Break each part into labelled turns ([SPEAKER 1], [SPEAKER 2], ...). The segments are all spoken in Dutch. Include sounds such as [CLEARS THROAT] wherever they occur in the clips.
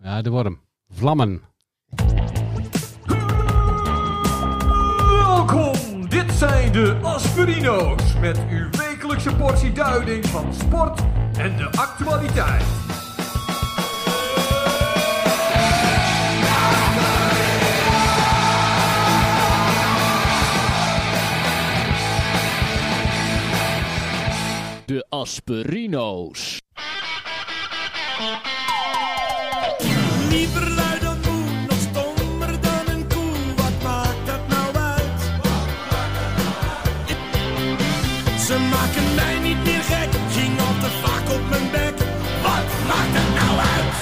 [SPEAKER 1] Ja, de worm. Vlammen.
[SPEAKER 2] Welkom, dit zijn de Aspirino's met uw wekelijkse portie duiding van sport en de actualiteit.
[SPEAKER 3] De Asperino's.
[SPEAKER 4] Liever lui dan moe, nog stommer dan een koe. Wat maakt dat nou uit? Ze maken mij niet meer gek, ging al te vaak op mijn bek. Wat maakt dat nou uit?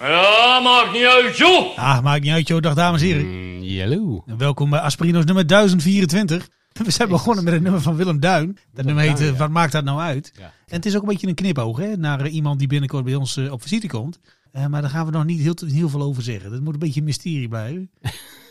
[SPEAKER 5] Ja, maakt niet uit, joh.
[SPEAKER 6] Ah, maakt niet uit, joh. Dag dames en heren.
[SPEAKER 1] Mm, Yellow.
[SPEAKER 6] En welkom bij Aspirino's nummer 1024. [LAUGHS] We zijn begonnen met een nummer van Willem Duin. Dat nummer heet
[SPEAKER 1] Duin,
[SPEAKER 6] eh,
[SPEAKER 1] ja.
[SPEAKER 6] Wat maakt dat nou uit?
[SPEAKER 1] Ja.
[SPEAKER 6] En het is ook een beetje een knipoog hè, naar eh, iemand die binnenkort bij ons eh, op visite komt. Eh, maar daar gaan we nog niet heel, heel veel over zeggen. Dat moet een beetje een mysterie
[SPEAKER 1] [LAUGHS]
[SPEAKER 6] blijven.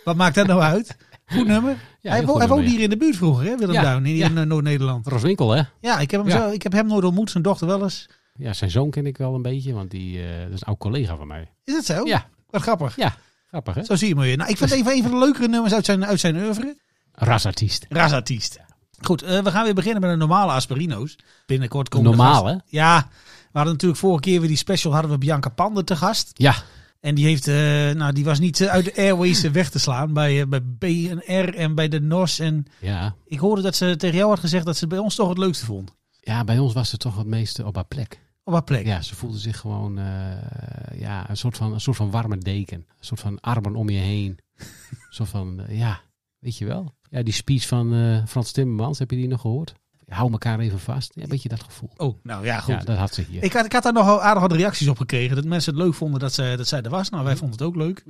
[SPEAKER 6] Wat maakt dat nou uit? Goed nummer.
[SPEAKER 1] heel
[SPEAKER 6] hij, wo-
[SPEAKER 1] goed
[SPEAKER 6] hij woonde
[SPEAKER 1] nummer,
[SPEAKER 6] hier in de buurt vroeger, hè, Willem
[SPEAKER 1] Ja,
[SPEAKER 6] Duin, in,
[SPEAKER 1] ja.
[SPEAKER 6] in, eh, Noord-Nederland.
[SPEAKER 1] Roswinkel, hè?
[SPEAKER 6] Ja, ik heb, hem
[SPEAKER 1] Ja.
[SPEAKER 6] Zo, ik heb hem nooit ontmoet, zijn dochter wel eens.
[SPEAKER 1] Ja, zijn zoon ken ik wel een beetje, want die eh, dat is een oud collega van mij.
[SPEAKER 6] Is dat zo?
[SPEAKER 1] Ja,
[SPEAKER 6] Wat grappig.
[SPEAKER 1] ja. Dus- Grappig, hè?
[SPEAKER 6] Zo zie je me weer. Nou, ik vind het even een van de leukere nummers uit zijn, uit zijn oeuvre.
[SPEAKER 1] Rasartiest.
[SPEAKER 6] Rasartiest. Goed, eh, we gaan weer beginnen met een normale Asperino's. Binnenkort komen de
[SPEAKER 1] Normaal,
[SPEAKER 6] gasten-
[SPEAKER 1] hè?
[SPEAKER 6] Ja, we hadden natuurlijk vorige keer weer die special, hadden we Bianca Pander te gast.
[SPEAKER 1] Ja.
[SPEAKER 6] En die, heeft, eh, nou, die was niet eh, uit de airways eh, weg te slaan bij, eh, bij BNR en bij de NOS. En
[SPEAKER 1] ja.
[SPEAKER 6] ik hoorde dat ze tegen jou had gezegd dat ze het bij ons toch het leukste vond.
[SPEAKER 1] Ja, bij ons was ze toch het meeste op haar plek.
[SPEAKER 6] Op haar plek.
[SPEAKER 1] Ja, ze voelde zich gewoon eh, ja, een, soort van, een soort van warme deken. Een soort van armen om je heen. een soort van, eh, ja, weet je wel. Ja, die speech van eh, Frans Timmermans, heb je die nog gehoord? Hou elkaar even vast. Ja, een beetje dat gevoel.
[SPEAKER 6] Oh, nou ja, goed.
[SPEAKER 1] Ja, dat had ze hier.
[SPEAKER 6] Ik had, ik had daar nog aardig wat reacties op gekregen. Dat mensen het leuk vonden dat, ze, dat zij er was. Nou,
[SPEAKER 1] Mhm.
[SPEAKER 6] wij vonden het ook leuk.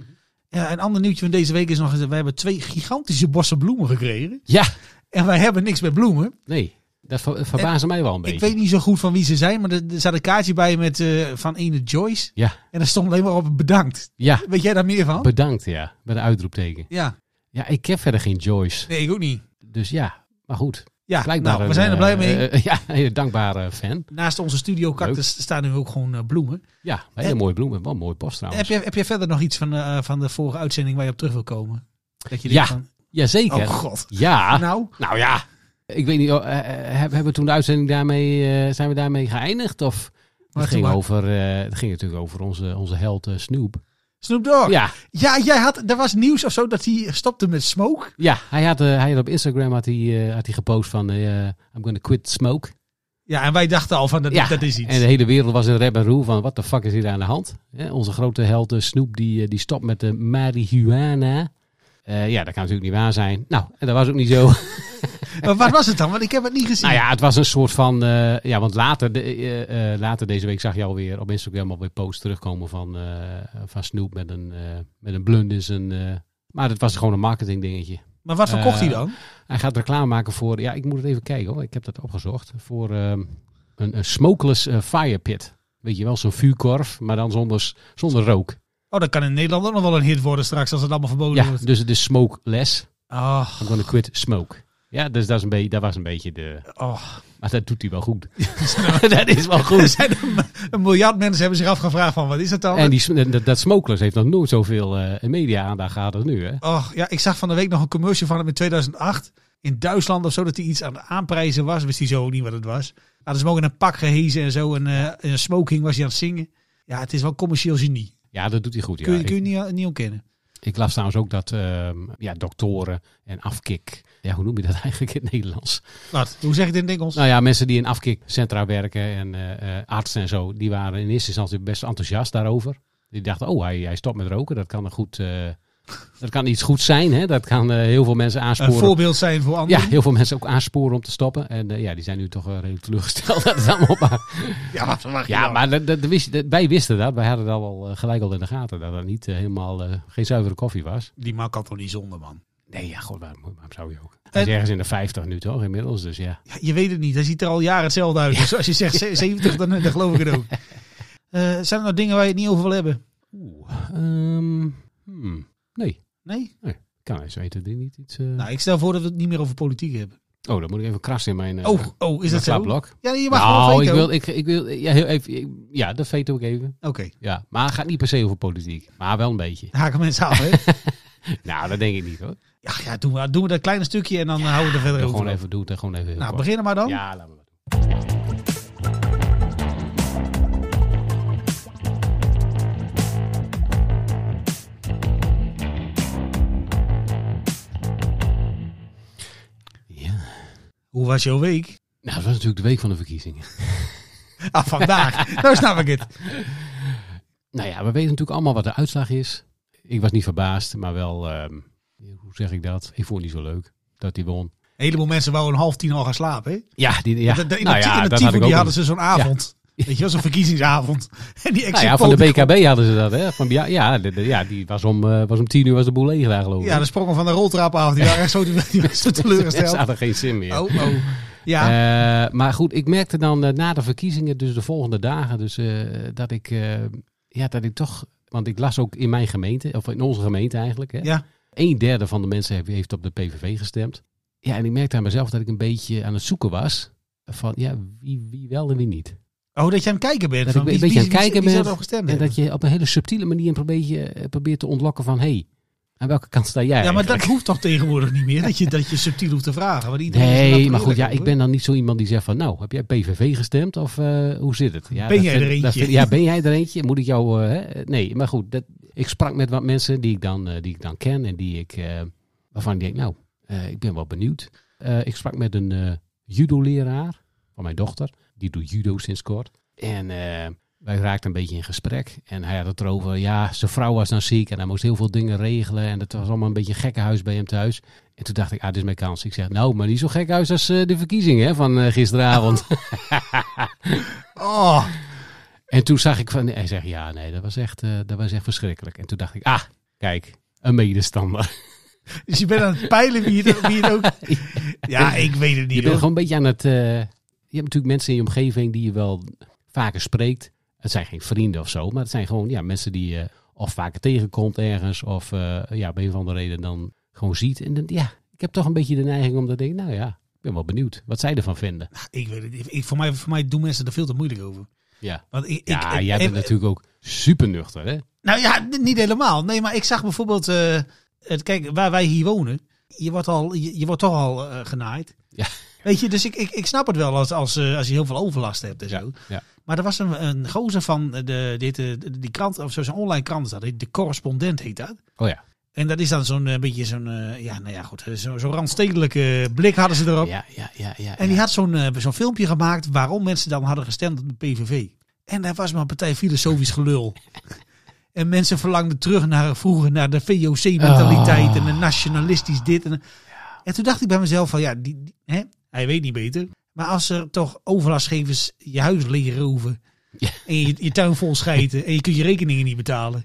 [SPEAKER 6] Ja, een ander nieuwtje van deze week is nog... eens dat Wij hebben twee gigantische bossen bloemen gekregen.
[SPEAKER 1] Ja,
[SPEAKER 6] En wij hebben niks met bloemen.
[SPEAKER 1] nee. Dat ver- verbaasde mij wel een beetje.
[SPEAKER 6] Ik weet niet zo goed van wie ze zijn, maar er, er zat een kaartje bij met eh, van ene Joyce.
[SPEAKER 1] Ja,
[SPEAKER 6] En daar stond alleen maar op bedankt.
[SPEAKER 1] ja.
[SPEAKER 6] Weet jij daar meer van?
[SPEAKER 1] Bedankt, ja. Met een uitroepteken.
[SPEAKER 6] ja.
[SPEAKER 1] Ja, ik heb verder geen Joyce.
[SPEAKER 6] Nee, ik ook niet.
[SPEAKER 1] Dus ja, maar goed.
[SPEAKER 6] Ja,
[SPEAKER 1] Blijkbaar
[SPEAKER 6] nou, we
[SPEAKER 1] een,
[SPEAKER 6] zijn er blij
[SPEAKER 1] eh,
[SPEAKER 6] mee.
[SPEAKER 1] eh, [LAUGHS] ja, een hele dankbare fan.
[SPEAKER 6] Naast onze studio cactus staan nu ook gewoon eh, bloemen.
[SPEAKER 1] Ja, hele
[SPEAKER 6] Eh,
[SPEAKER 1] mooie bloemen. Wel een mooie post
[SPEAKER 6] Heb
[SPEAKER 1] trouwens.
[SPEAKER 6] je, heb je verder nog iets van, eh, van de vorige uitzending waar je op terug wil komen? Dat je
[SPEAKER 1] Ja,
[SPEAKER 6] denkt van,
[SPEAKER 1] Jazeker.
[SPEAKER 6] oh god.
[SPEAKER 1] Ja.
[SPEAKER 6] Nou,
[SPEAKER 1] Nou ja, ik weet niet, oh, eh, eh, heb- hebben we toen de uitzending daarmee, eh, zijn we daarmee geëindigd? Of het
[SPEAKER 6] Wacht
[SPEAKER 1] ging,
[SPEAKER 6] maar.
[SPEAKER 1] over, eh, het ging natuurlijk over onze, onze held eh, Snoop.
[SPEAKER 6] Snoop Dogg. Ja.
[SPEAKER 1] Ja,
[SPEAKER 6] jij had, er was nieuws of zo dat hij stopte met smoke.
[SPEAKER 1] ja hij, had, eh, hij had op Instagram had hij, eh, had hij gepost van eh, I'm gonna quit smoke.
[SPEAKER 6] Ja, en wij dachten al van dat,
[SPEAKER 1] Ja,
[SPEAKER 6] dat is iets.
[SPEAKER 1] En de hele wereld was in rep en roer van wat de fuck is hier aan de hand? Hè, onze grote held eh, Snoop die, eh, die stopt met de marihuana. Eh, ja, dat kan natuurlijk niet waar zijn. Nou, en dat was ook niet
[SPEAKER 6] [LAUGHS]
[SPEAKER 1] zo.
[SPEAKER 6] Maar wat was het dan? Want ik heb het niet gezien.
[SPEAKER 1] eh, Nou ja, het was een soort van. eh, ja, want later, de, eh, eh, later deze week zag je alweer op Instagram alweer posts terugkomen van, eh, van Snoop met een, eh met een blunt in zijn. eh, maar het was gewoon een marketing dingetje.
[SPEAKER 6] Maar wat verkocht hij
[SPEAKER 1] Eh,
[SPEAKER 6] dan?
[SPEAKER 1] Hij gaat reclame maken voor. Ja, ik moet het even kijken hoor. Ik heb dat opgezocht. Voor ehm, een, een smokeless eh, fire pit. Weet je wel, zo'n vuurkorf, maar dan zonder, zonder rook.
[SPEAKER 6] Oh, dat kan in Nederland ook nog wel een hit worden straks als het allemaal verboden
[SPEAKER 1] Ja,
[SPEAKER 6] wordt.
[SPEAKER 1] dus het is smokeless.
[SPEAKER 6] Oh,
[SPEAKER 1] I'm gonna quit smoke. Ja, dus dat, is een beetje, dat was een beetje de...
[SPEAKER 6] oh.
[SPEAKER 1] Maar dat doet hij wel goed. [LAUGHS] dat is wel goed.
[SPEAKER 6] Een miljard mensen hebben zich afgevraagd van wat is dat dan?
[SPEAKER 1] En die, sm- dat, dat Smokeless heeft nog nooit zoveel eh media-aandacht gehad als nu, hè?
[SPEAKER 6] Oh, ja, ik zag van de week nog een commercial van hem in 2008. In Duitsland of zo, dat hij iets aan het aanprijzen was. Wist hij zo ook niet wat het was. Hadden ze hem ook in een pak gehezen en zo. En eh, in een smoking was hij aan het zingen. Ja, het is wel commercieel genie.
[SPEAKER 1] Ja, dat doet hij goed. Ja.
[SPEAKER 6] Kun je,
[SPEAKER 1] ik,
[SPEAKER 6] kun je niet, niet ontkennen.
[SPEAKER 1] ik las trouwens ook dat ehm, ja, doktoren en afkik... Ja, hoe noem je dat [LAUGHS] eigenlijk in het Nederlands?
[SPEAKER 6] Wat? Hoe zeg ik dit in het Engels?
[SPEAKER 1] Nou ja, mensen die in afkikcentra werken en eh, eh, artsen en zo... die waren in eerste instantie best enthousiast daarover. Die dachten, oh, hij, hij stopt met roken. Dat kan, een goed, eh, [LAUGHS] dat kan iets goeds zijn, hè? Dat kan eh, heel veel mensen
[SPEAKER 6] een
[SPEAKER 1] aansporen.
[SPEAKER 6] voorbeeld zijn voor
[SPEAKER 1] ja,
[SPEAKER 6] anderen.
[SPEAKER 1] heel veel mensen ook aansporen om te stoppen. En eh, ja, die zijn nu toch eh, redelijk teleurgesteld [LAUGHS] dat het allemaal maar
[SPEAKER 6] Ja, wat verwacht je
[SPEAKER 1] Ja,
[SPEAKER 6] dan?
[SPEAKER 1] maar dat, dat wist, dat- wij wisten dat. Wij hadden dat al eh, gelijk al in de gaten. Dat dat niet eh, helemaal eh, geen zuivere koffie was.
[SPEAKER 6] Die man kan toch niet zonder, man.
[SPEAKER 1] Nee, ja, god, waarom, waarom zou je ook? Hij is
[SPEAKER 6] En-
[SPEAKER 1] ergens in de 50 nu toch inmiddels. Dus ja.
[SPEAKER 6] Ja, je weet het niet. Hij ziet er al jaren hetzelfde uit. Dus als je
[SPEAKER 1] [LAUGHS]
[SPEAKER 6] zegt ze- 70, dan, dan geloof ik het ook. Eh, zijn er nog dingen waar je het niet over wil hebben?
[SPEAKER 1] Oeh. ehm, hmm. Nee,
[SPEAKER 6] Nee?
[SPEAKER 1] kan eens weten dat dit niet iets. eh,
[SPEAKER 6] Nou, ik stel voor dat we het niet meer over politiek hebben.
[SPEAKER 1] Oh, dan moet ik even krassen in mijn... eh,
[SPEAKER 6] Oh, oh, is
[SPEAKER 1] mijn
[SPEAKER 6] dat zo?
[SPEAKER 1] slaapblok.
[SPEAKER 6] Ja, je mag
[SPEAKER 1] Nou,
[SPEAKER 6] gewoon
[SPEAKER 1] ik
[SPEAKER 6] veto.
[SPEAKER 1] wil, ik, ik wil, ja, heel even, ik- ja, dat veto ik even.
[SPEAKER 6] Oké, okay.
[SPEAKER 1] Ja, maar het gaat niet per se over politiek. Maar wel een beetje. [LAUGHS]
[SPEAKER 6] haken mensen af, hè?
[SPEAKER 1] Nou, dat denk ik niet hoor.
[SPEAKER 6] ja, ja doen, we, doen we dat kleine stukje en dan eh, houden we er verder
[SPEAKER 1] Dan
[SPEAKER 6] over.
[SPEAKER 1] gewoon even doen. Dan gewoon even heel
[SPEAKER 6] nou,
[SPEAKER 1] kort.
[SPEAKER 6] beginnen maar dan.
[SPEAKER 1] Ja, laten we maar doen. Ja.
[SPEAKER 6] Hoe was jouw week?
[SPEAKER 1] Nou, dat was natuurlijk de week van de verkiezingen. [LAUGHS]
[SPEAKER 6] Ah, vandaag. nou snap ik het.
[SPEAKER 1] Nou ja, we weten natuurlijk allemaal wat de uitslag is. Ik was niet verbaasd, maar wel, ehm, hoe zeg ik dat? Ik vond het niet zo leuk dat hij won.
[SPEAKER 6] Een heleboel mensen wouden een half tien al gaan slapen, hè?
[SPEAKER 1] Ja, die, ja.
[SPEAKER 6] Dat- dat- in
[SPEAKER 1] nou
[SPEAKER 6] de,
[SPEAKER 1] ja,
[SPEAKER 6] in de
[SPEAKER 1] dat
[SPEAKER 6] Tivoli
[SPEAKER 1] had ik ook.
[SPEAKER 6] hadden
[SPEAKER 1] een-
[SPEAKER 6] ze zo'n avond. Weet je wel, zo'n verkiezingsavond. [LAUGHS] en die
[SPEAKER 1] nou ja, van de BKB hadden ze dat, hè? Van, ja, ja, de- de- ja, die was om, eh, was om tien uur was de boel leeg daar, geloof ik. [LAUGHS]
[SPEAKER 6] Ja, de sprongen van de roltrap af. Die waren echt zo, [LAUGHS] die waren zo
[SPEAKER 1] Er [LAUGHS]
[SPEAKER 6] teleurgesteld.
[SPEAKER 1] staat er geen zin meer.
[SPEAKER 6] Oh, oh. Ja,
[SPEAKER 1] Eh, maar goed, ik merkte dan eh, na de verkiezingen, dus de volgende dagen, dus, eh, dat, ik, eh, ja, dat ik toch... Want ik las ook in mijn gemeente, of in onze gemeente eigenlijk, hè,
[SPEAKER 6] ja.
[SPEAKER 1] een derde van de mensen heeft- heeft op de PVV gestemd. Ja, en ik merkte aan mezelf dat ik een beetje aan het zoeken was van ja, wie, wie wel en wie niet.
[SPEAKER 6] Oh, dat je aan het kijken bent.
[SPEAKER 1] Dat
[SPEAKER 6] van
[SPEAKER 1] ik
[SPEAKER 6] wie-
[SPEAKER 1] een beetje aan
[SPEAKER 6] wie-
[SPEAKER 1] het
[SPEAKER 6] wie-
[SPEAKER 1] kijken
[SPEAKER 6] wie zou
[SPEAKER 1] ben.
[SPEAKER 6] erop gestemd
[SPEAKER 1] En
[SPEAKER 6] hebben?
[SPEAKER 1] dat je op een hele subtiele manier een beetje eh, probeert te ontlokken van hé, hey, aan welke kant sta jij?
[SPEAKER 6] Ja, maar dat
[SPEAKER 1] eigenlijk?
[SPEAKER 6] hoeft toch tegenwoordig niet meer. Dat je, dat je subtiel hoeft te vragen. Want iedereen is er
[SPEAKER 1] Nee,
[SPEAKER 6] natuurlijk
[SPEAKER 1] maar goed, ja,
[SPEAKER 6] eerlijk
[SPEAKER 1] ik
[SPEAKER 6] over.
[SPEAKER 1] ben dan niet zo iemand die zegt van nou, heb jij PVV gestemd of eh, hoe zit het? Ja,
[SPEAKER 6] Ben
[SPEAKER 1] dat
[SPEAKER 6] jij
[SPEAKER 1] vind-
[SPEAKER 6] er
[SPEAKER 1] dat
[SPEAKER 6] eentje?
[SPEAKER 1] vind- ja, ben jij er eentje? Moet ik jou... eh, hè? nee, maar goed, dat, ik sprak met wat mensen die ik dan, eh, die ik dan ken en die ik, eh, waarvan ik denk, nou, eh, ik ben wel benieuwd. Eh, ik sprak met een eh, judo-leraar van mijn dochter, die doet judo sinds kort. En eh, wij raakten een beetje in gesprek en hij had het erover, ja, zijn vrouw was dan ziek en hij moest heel veel dingen regelen en het was allemaal een beetje een gekkenhuis bij hem thuis. En toen dacht ik, ah, dit is mijn kans. Ik zeg, nou, maar niet zo gek huis als eh, de verkiezingen hè, van eh, gisteravond.
[SPEAKER 6] Oh,
[SPEAKER 1] [LAUGHS] En toen zag ik van, hij zegt ja, nee, dat was, echt, eh, dat was echt verschrikkelijk. En toen dacht ik, ah, kijk, een medestander.
[SPEAKER 6] dus je bent aan het peilen wie het,
[SPEAKER 1] [LAUGHS]
[SPEAKER 6] wie het ook... Ja, ik weet het
[SPEAKER 1] Je
[SPEAKER 6] niet.
[SPEAKER 1] bent
[SPEAKER 6] hoor.
[SPEAKER 1] gewoon een beetje aan het. eh, je hebt natuurlijk mensen in je omgeving die je wel vaker spreekt. Het zijn geen vrienden of zo, maar het zijn gewoon ja, mensen die je of vaker tegenkomt ergens. Of eh, ja, op een of andere reden dan gewoon ziet. En dan, ja, ik heb toch een beetje de neiging om te denken, nou ja, ik ben wel benieuwd wat zij ervan vinden.
[SPEAKER 6] Ik weet het niet. Ik, voor, mij, voor mij doen mensen er veel te moeilijk over.
[SPEAKER 1] Ja,
[SPEAKER 6] Want ik,
[SPEAKER 1] ja
[SPEAKER 6] ik,
[SPEAKER 1] jij
[SPEAKER 6] ik-
[SPEAKER 1] bent natuurlijk ook super nuchter, hè?
[SPEAKER 6] Nou ja, n- niet helemaal. Nee, maar ik zag bijvoorbeeld... eh, het, kijk, waar wij hier wonen... Je wordt, al, je, je wordt toch al eh, genaaid.
[SPEAKER 1] Ja.
[SPEAKER 6] Weet je, dus ik, ik, ik snap het wel als, als, eh, als je heel veel overlast hebt en zo.
[SPEAKER 1] ja.
[SPEAKER 6] Maar er was een, een gozer van de, dit, eh, die krant, of zo, zo'n online krant is dat. De correspondent heet dat.
[SPEAKER 1] Oh ja.
[SPEAKER 6] En dat is dan zo'n eh, beetje zo'n, eh, ja, nou ja, goed, eh, zo- zo'n randstedelijke blik hadden ze erop.
[SPEAKER 1] Ja, ja, ja, ja.
[SPEAKER 6] Oh. En die had zo'n eh, zo'n filmpje gemaakt waarom mensen dan hadden gestemd op de PVV. En daar was maar een partij filosofisch gelul.
[SPEAKER 1] [LAUGHS]
[SPEAKER 6] en mensen verlangden terug naar vroeger, naar de VOC-mentaliteit
[SPEAKER 1] Oh.
[SPEAKER 6] en een nationalistisch dit. En, en toen dacht ik bij mezelf van, ja, die, die- hè, hij weet niet beter. Maar als er toch overlastgevers je huis leegroven
[SPEAKER 1] Ja.
[SPEAKER 6] en je, je tuin
[SPEAKER 1] [LAUGHS]
[SPEAKER 6] vol schijten en je kunt je rekeningen niet betalen.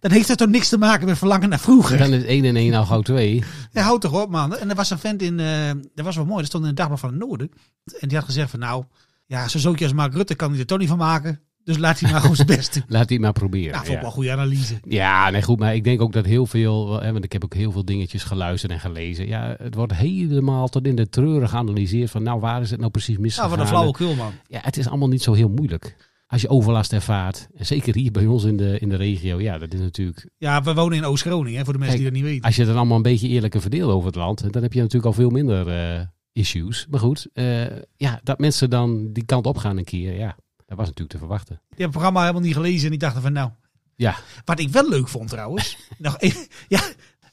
[SPEAKER 6] Dan heeft dat toch niks te maken met verlangen naar vroeger.
[SPEAKER 1] Dan is 1 en 1 al gauw 2.
[SPEAKER 6] Ja, houd toch op, man. En er was een vent in, eh dat was wel mooi, dat stond in het Dagblad van het Noorden. En die had gezegd van, nou, ja, zo'n zootje als Mark Rutte kan hij er toch niet van maken. Dus laat hij maar gewoon zijn best doen.
[SPEAKER 1] Laat die maar proberen.
[SPEAKER 6] Nou, vond ik
[SPEAKER 1] ja.
[SPEAKER 6] wel een goede analyse.
[SPEAKER 1] Ja, nee, goed. Maar ik denk ook dat heel veel. Hè, want ik heb ook heel veel dingetjes geluisterd en gelezen. Ja, het wordt helemaal tot in de treuren geanalyseerd. Van nou, waar is het nou precies
[SPEAKER 6] Nou,
[SPEAKER 1] misgegaan?
[SPEAKER 6] wat een flauwekul, man.
[SPEAKER 1] Ja, het is allemaal niet zo heel moeilijk. Als je overlast ervaart. En zeker hier bij ons in de, in de regio. Ja, dat is natuurlijk.
[SPEAKER 6] Ja, we wonen in Oost-Groningen, hè, voor de mensen
[SPEAKER 1] Kijk,
[SPEAKER 6] die dat niet weten.
[SPEAKER 1] Als je het dan allemaal een beetje eerlijker verdeelt over het land. dan heb je natuurlijk al veel minder eh, issues. Maar goed, eh, ja, dat mensen dan die kant op gaan een keer. Ja, dat was natuurlijk te verwachten.
[SPEAKER 6] Die hebben het programma helemaal niet gelezen en die dachten van, nou.
[SPEAKER 1] Ja.
[SPEAKER 6] Wat ik wel leuk vond
[SPEAKER 1] [LAUGHS]
[SPEAKER 6] trouwens. nog, even- ja,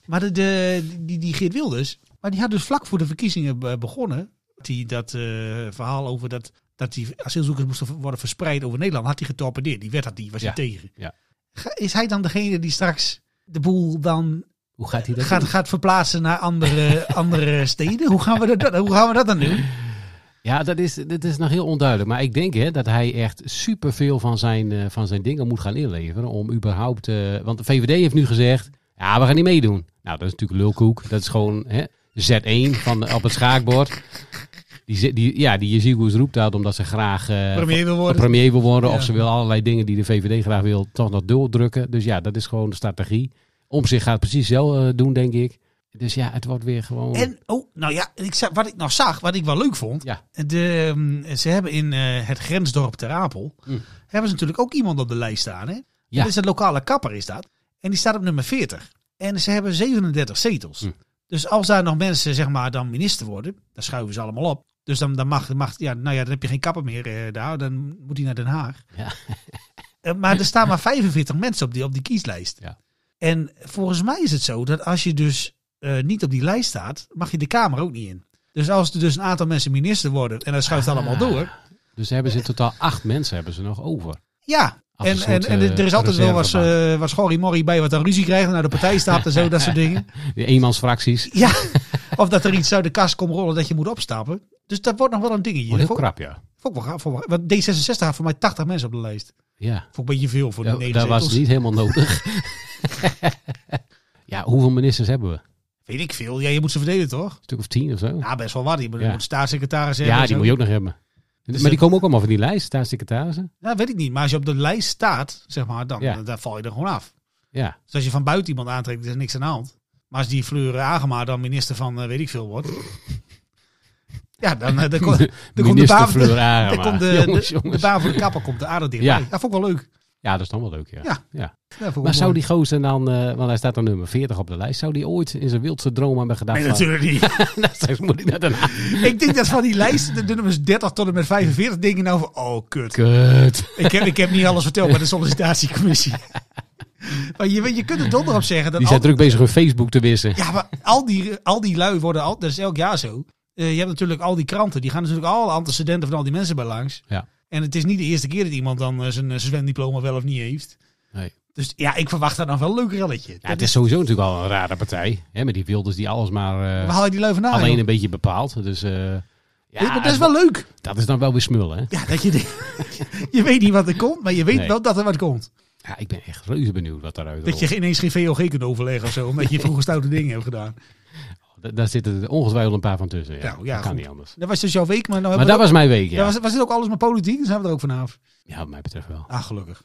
[SPEAKER 6] maar de, de, die, die Geert Wilders, maar die had dus vlak voor de verkiezingen be- begonnen. Die, dat eh, verhaal over dat, dat die asielzoekers moesten worden verspreid over Nederland, had hij getorpedeerd. Die werd dat niet, was
[SPEAKER 1] Ja,
[SPEAKER 6] hij tegen.
[SPEAKER 1] ja.
[SPEAKER 6] Ga- Is hij dan degene die straks de boel dan
[SPEAKER 1] Hoe gaat hij dat?
[SPEAKER 6] gaat,
[SPEAKER 1] doen?
[SPEAKER 6] gaat verplaatsen naar
[SPEAKER 1] [LAUGHS]
[SPEAKER 6] andere, andere steden? Hoe gaan, we dat, hoe gaan we dat dan doen?
[SPEAKER 1] Ja, dat is, dat is nog heel onduidelijk. Maar ik denk hè, dat hij echt superveel van zijn, eh, van zijn dingen moet gaan inleveren. Om überhaupt. eh, want de VVD heeft nu gezegd. Ja, we gaan niet meedoen. Nou, dat is natuurlijk lulkoek. Dat is gewoon hè, Z1 van, op het schaakbord. Die, ze- die, ja, die Jezigus roept dat omdat ze graag eh,
[SPEAKER 6] Premier wil worden.
[SPEAKER 1] premier wil worden.
[SPEAKER 6] Ja.
[SPEAKER 1] Of ze wil allerlei dingen die de VVD graag wil, toch nog doordrukken. Dus ja, dat is gewoon de strategie. Om zich gaat precies zelf eh, doen, denk ik. Dus ja, het wordt weer gewoon...
[SPEAKER 6] En, oh, nou ja, ik, za- wat ik nog zag, wat ik wel leuk vond.
[SPEAKER 1] Ja.
[SPEAKER 6] De, ehm, ze hebben in eh, het grensdorp Ter Apel,
[SPEAKER 1] Mm.
[SPEAKER 6] hebben ze natuurlijk ook iemand op de lijst staan. Hè?
[SPEAKER 1] Ja.
[SPEAKER 6] Dat is een lokale kapper is dat. En die staat op nummer 40. En ze hebben 37 zetels.
[SPEAKER 1] Mm.
[SPEAKER 6] Dus als daar nog mensen, zeg maar, dan minister worden, dan schuiven ze allemaal op. Dus dan, dan mag, mag, ja, nou ja, dan heb je geen kapper meer eh, daar. Dan moet hij naar Den Haag.
[SPEAKER 1] Ja.
[SPEAKER 6] [LAUGHS] Eh, maar er staan maar 45 mensen op die, op die kieslijst.
[SPEAKER 1] Ja.
[SPEAKER 6] En volgens mij is het zo dat als je dus eh, niet op die lijst staat, mag je de Kamer ook niet in. Dus als er dus een aantal mensen minister worden en dat
[SPEAKER 1] Ah.
[SPEAKER 6] schuift allemaal door.
[SPEAKER 1] Dus hebben ze in totaal acht mensen hebben ze nog over.
[SPEAKER 6] Ja,
[SPEAKER 1] Als een
[SPEAKER 6] en, en,
[SPEAKER 1] soort,
[SPEAKER 6] en er is
[SPEAKER 1] eh,
[SPEAKER 6] altijd wel wat,
[SPEAKER 1] reservebaan.
[SPEAKER 6] eh wat schorrimorrie bij wat dan ruzie krijgt en naar de partij stapt en zo, dat soort dingen.
[SPEAKER 1] [LAUGHS] De eenmansfracties.
[SPEAKER 6] Ja, of dat er iets uit de kast komt rollen dat je moet opstappen. Dus dat wordt nog wel een dingetje.
[SPEAKER 1] Wordt heel
[SPEAKER 6] Vond-
[SPEAKER 1] krap, ja.
[SPEAKER 6] vond ik wel gaaf, vond ik wel- Want D66 had voor mij 80 mensen op de lijst.
[SPEAKER 1] Ja,
[SPEAKER 6] Vond ik een beetje veel voor de
[SPEAKER 1] dat, dat
[SPEAKER 6] Nederlandse.
[SPEAKER 1] was niet helemaal
[SPEAKER 6] [LAUGHS]
[SPEAKER 1] nodig. ja, hoeveel ministers hebben we? Een
[SPEAKER 6] Weet ik veel. Ja, je moet ze verdelen toch?
[SPEAKER 1] stuk of tien of zo?
[SPEAKER 6] Ja, best wel wat. Je moet, je
[SPEAKER 1] Ja.
[SPEAKER 6] moet staatssecretaris hebben.
[SPEAKER 1] Ja,
[SPEAKER 6] en
[SPEAKER 1] die
[SPEAKER 6] zo.
[SPEAKER 1] moet je ook nog hebben. maar
[SPEAKER 6] dat-
[SPEAKER 1] die komen ook allemaal van die lijst, staatssecretarissen.
[SPEAKER 6] Ja, Nou, weet ik niet. Maar als je op de lijst staat, zeg maar, dan,
[SPEAKER 1] Ja.
[SPEAKER 6] dan, dan val je er gewoon af.
[SPEAKER 1] Ja,
[SPEAKER 6] Dus als je van buiten iemand aantrekt, is er niks aan de hand. Maar als die Fleur Agema dan minister van eh, weet ik veel wordt. [LAUGHS] ja, dan, eh, dan,
[SPEAKER 1] [LAUGHS]
[SPEAKER 6] komt- dan komt de
[SPEAKER 1] minister
[SPEAKER 6] baan- [LAUGHS]
[SPEAKER 1] Fleur Agema.
[SPEAKER 6] dan komt de,
[SPEAKER 1] Jongens,
[SPEAKER 6] de,
[SPEAKER 1] jongens.
[SPEAKER 6] de baan voor de kapper komt de aarde dichtbij.
[SPEAKER 1] Ja.
[SPEAKER 6] Ja. Dat vond ik wel leuk.
[SPEAKER 1] ja, dat is dan wel leuk, ja.
[SPEAKER 6] Ja. Ja, dat vond ik wel
[SPEAKER 1] Maar zou
[SPEAKER 6] mooi.
[SPEAKER 1] die gozer dan, eh, want hij staat dan nummer 40 op de lijst, zou die ooit in zijn wildste droom hebben gedacht
[SPEAKER 6] Nee,
[SPEAKER 1] van,
[SPEAKER 6] natuurlijk niet.
[SPEAKER 1] nou, [LAUGHS] straks moet ik naar Den Haag.
[SPEAKER 6] [LAUGHS] ik denk dat van die lijst, de, de nummers 30 tot en met 45, denk je nou van, oh kut.
[SPEAKER 1] Kut.
[SPEAKER 6] Ik heb, ik heb niet alles verteld bij de sollicitatiecommissie. [LAUGHS] maar je, weet, je kunt er donder op zeggen. Dat
[SPEAKER 1] Die
[SPEAKER 6] al-
[SPEAKER 1] zijn druk bezig hun Facebook te wissen.
[SPEAKER 6] Ja, maar al die, al die lui worden, al, dat is elk jaar zo. Eh, je hebt natuurlijk al die kranten, die gaan dus natuurlijk alle antecedenten van al die mensen bij langs.
[SPEAKER 1] Ja.
[SPEAKER 6] En het is niet de eerste keer dat iemand dan eh, zijn eh, zwemdiploma wel of niet heeft.
[SPEAKER 1] Nee.
[SPEAKER 6] Dus ja, ik verwacht daar dan wel een leuk relletje.
[SPEAKER 1] Ja, het is sowieso natuurlijk al een rare partij. Hè, met die wilders die alles maar eh,
[SPEAKER 6] We haal je die lui vandaan?
[SPEAKER 1] alleen
[SPEAKER 6] Ah, joh?
[SPEAKER 1] een beetje bepaalt. Dus eh, ja,
[SPEAKER 6] Ja, maar dat is wel leuk.
[SPEAKER 1] dat is dan wel weer smullen. Hè?
[SPEAKER 6] Ja, dat je, [LAUGHS] je weet niet wat er komt, maar je weet
[SPEAKER 1] Nee.
[SPEAKER 6] wel dat er wat komt.
[SPEAKER 1] Ja, ik ben echt reuze benieuwd wat daaruit
[SPEAKER 6] Dat
[SPEAKER 1] rolt.
[SPEAKER 6] je ineens geen VOG kunt overleggen of zo, omdat je vroeger stoute dingen hebt gedaan.
[SPEAKER 1] Da- Daar zitten er ongetwijfeld een paar van tussen. Ja.
[SPEAKER 6] Nou, ja,
[SPEAKER 1] dat kan
[SPEAKER 6] goed.
[SPEAKER 1] niet anders.
[SPEAKER 6] Dat was dus jouw week, maar, nou
[SPEAKER 1] Maar
[SPEAKER 6] hebben
[SPEAKER 1] dat
[SPEAKER 6] we
[SPEAKER 1] was mijn week,
[SPEAKER 6] Ja,
[SPEAKER 1] ja.
[SPEAKER 6] was, was dit ook alles maar politiek? Dan zijn we er ook vanaf.
[SPEAKER 1] Ja, wat mij betreft wel.
[SPEAKER 6] Ah, gelukkig.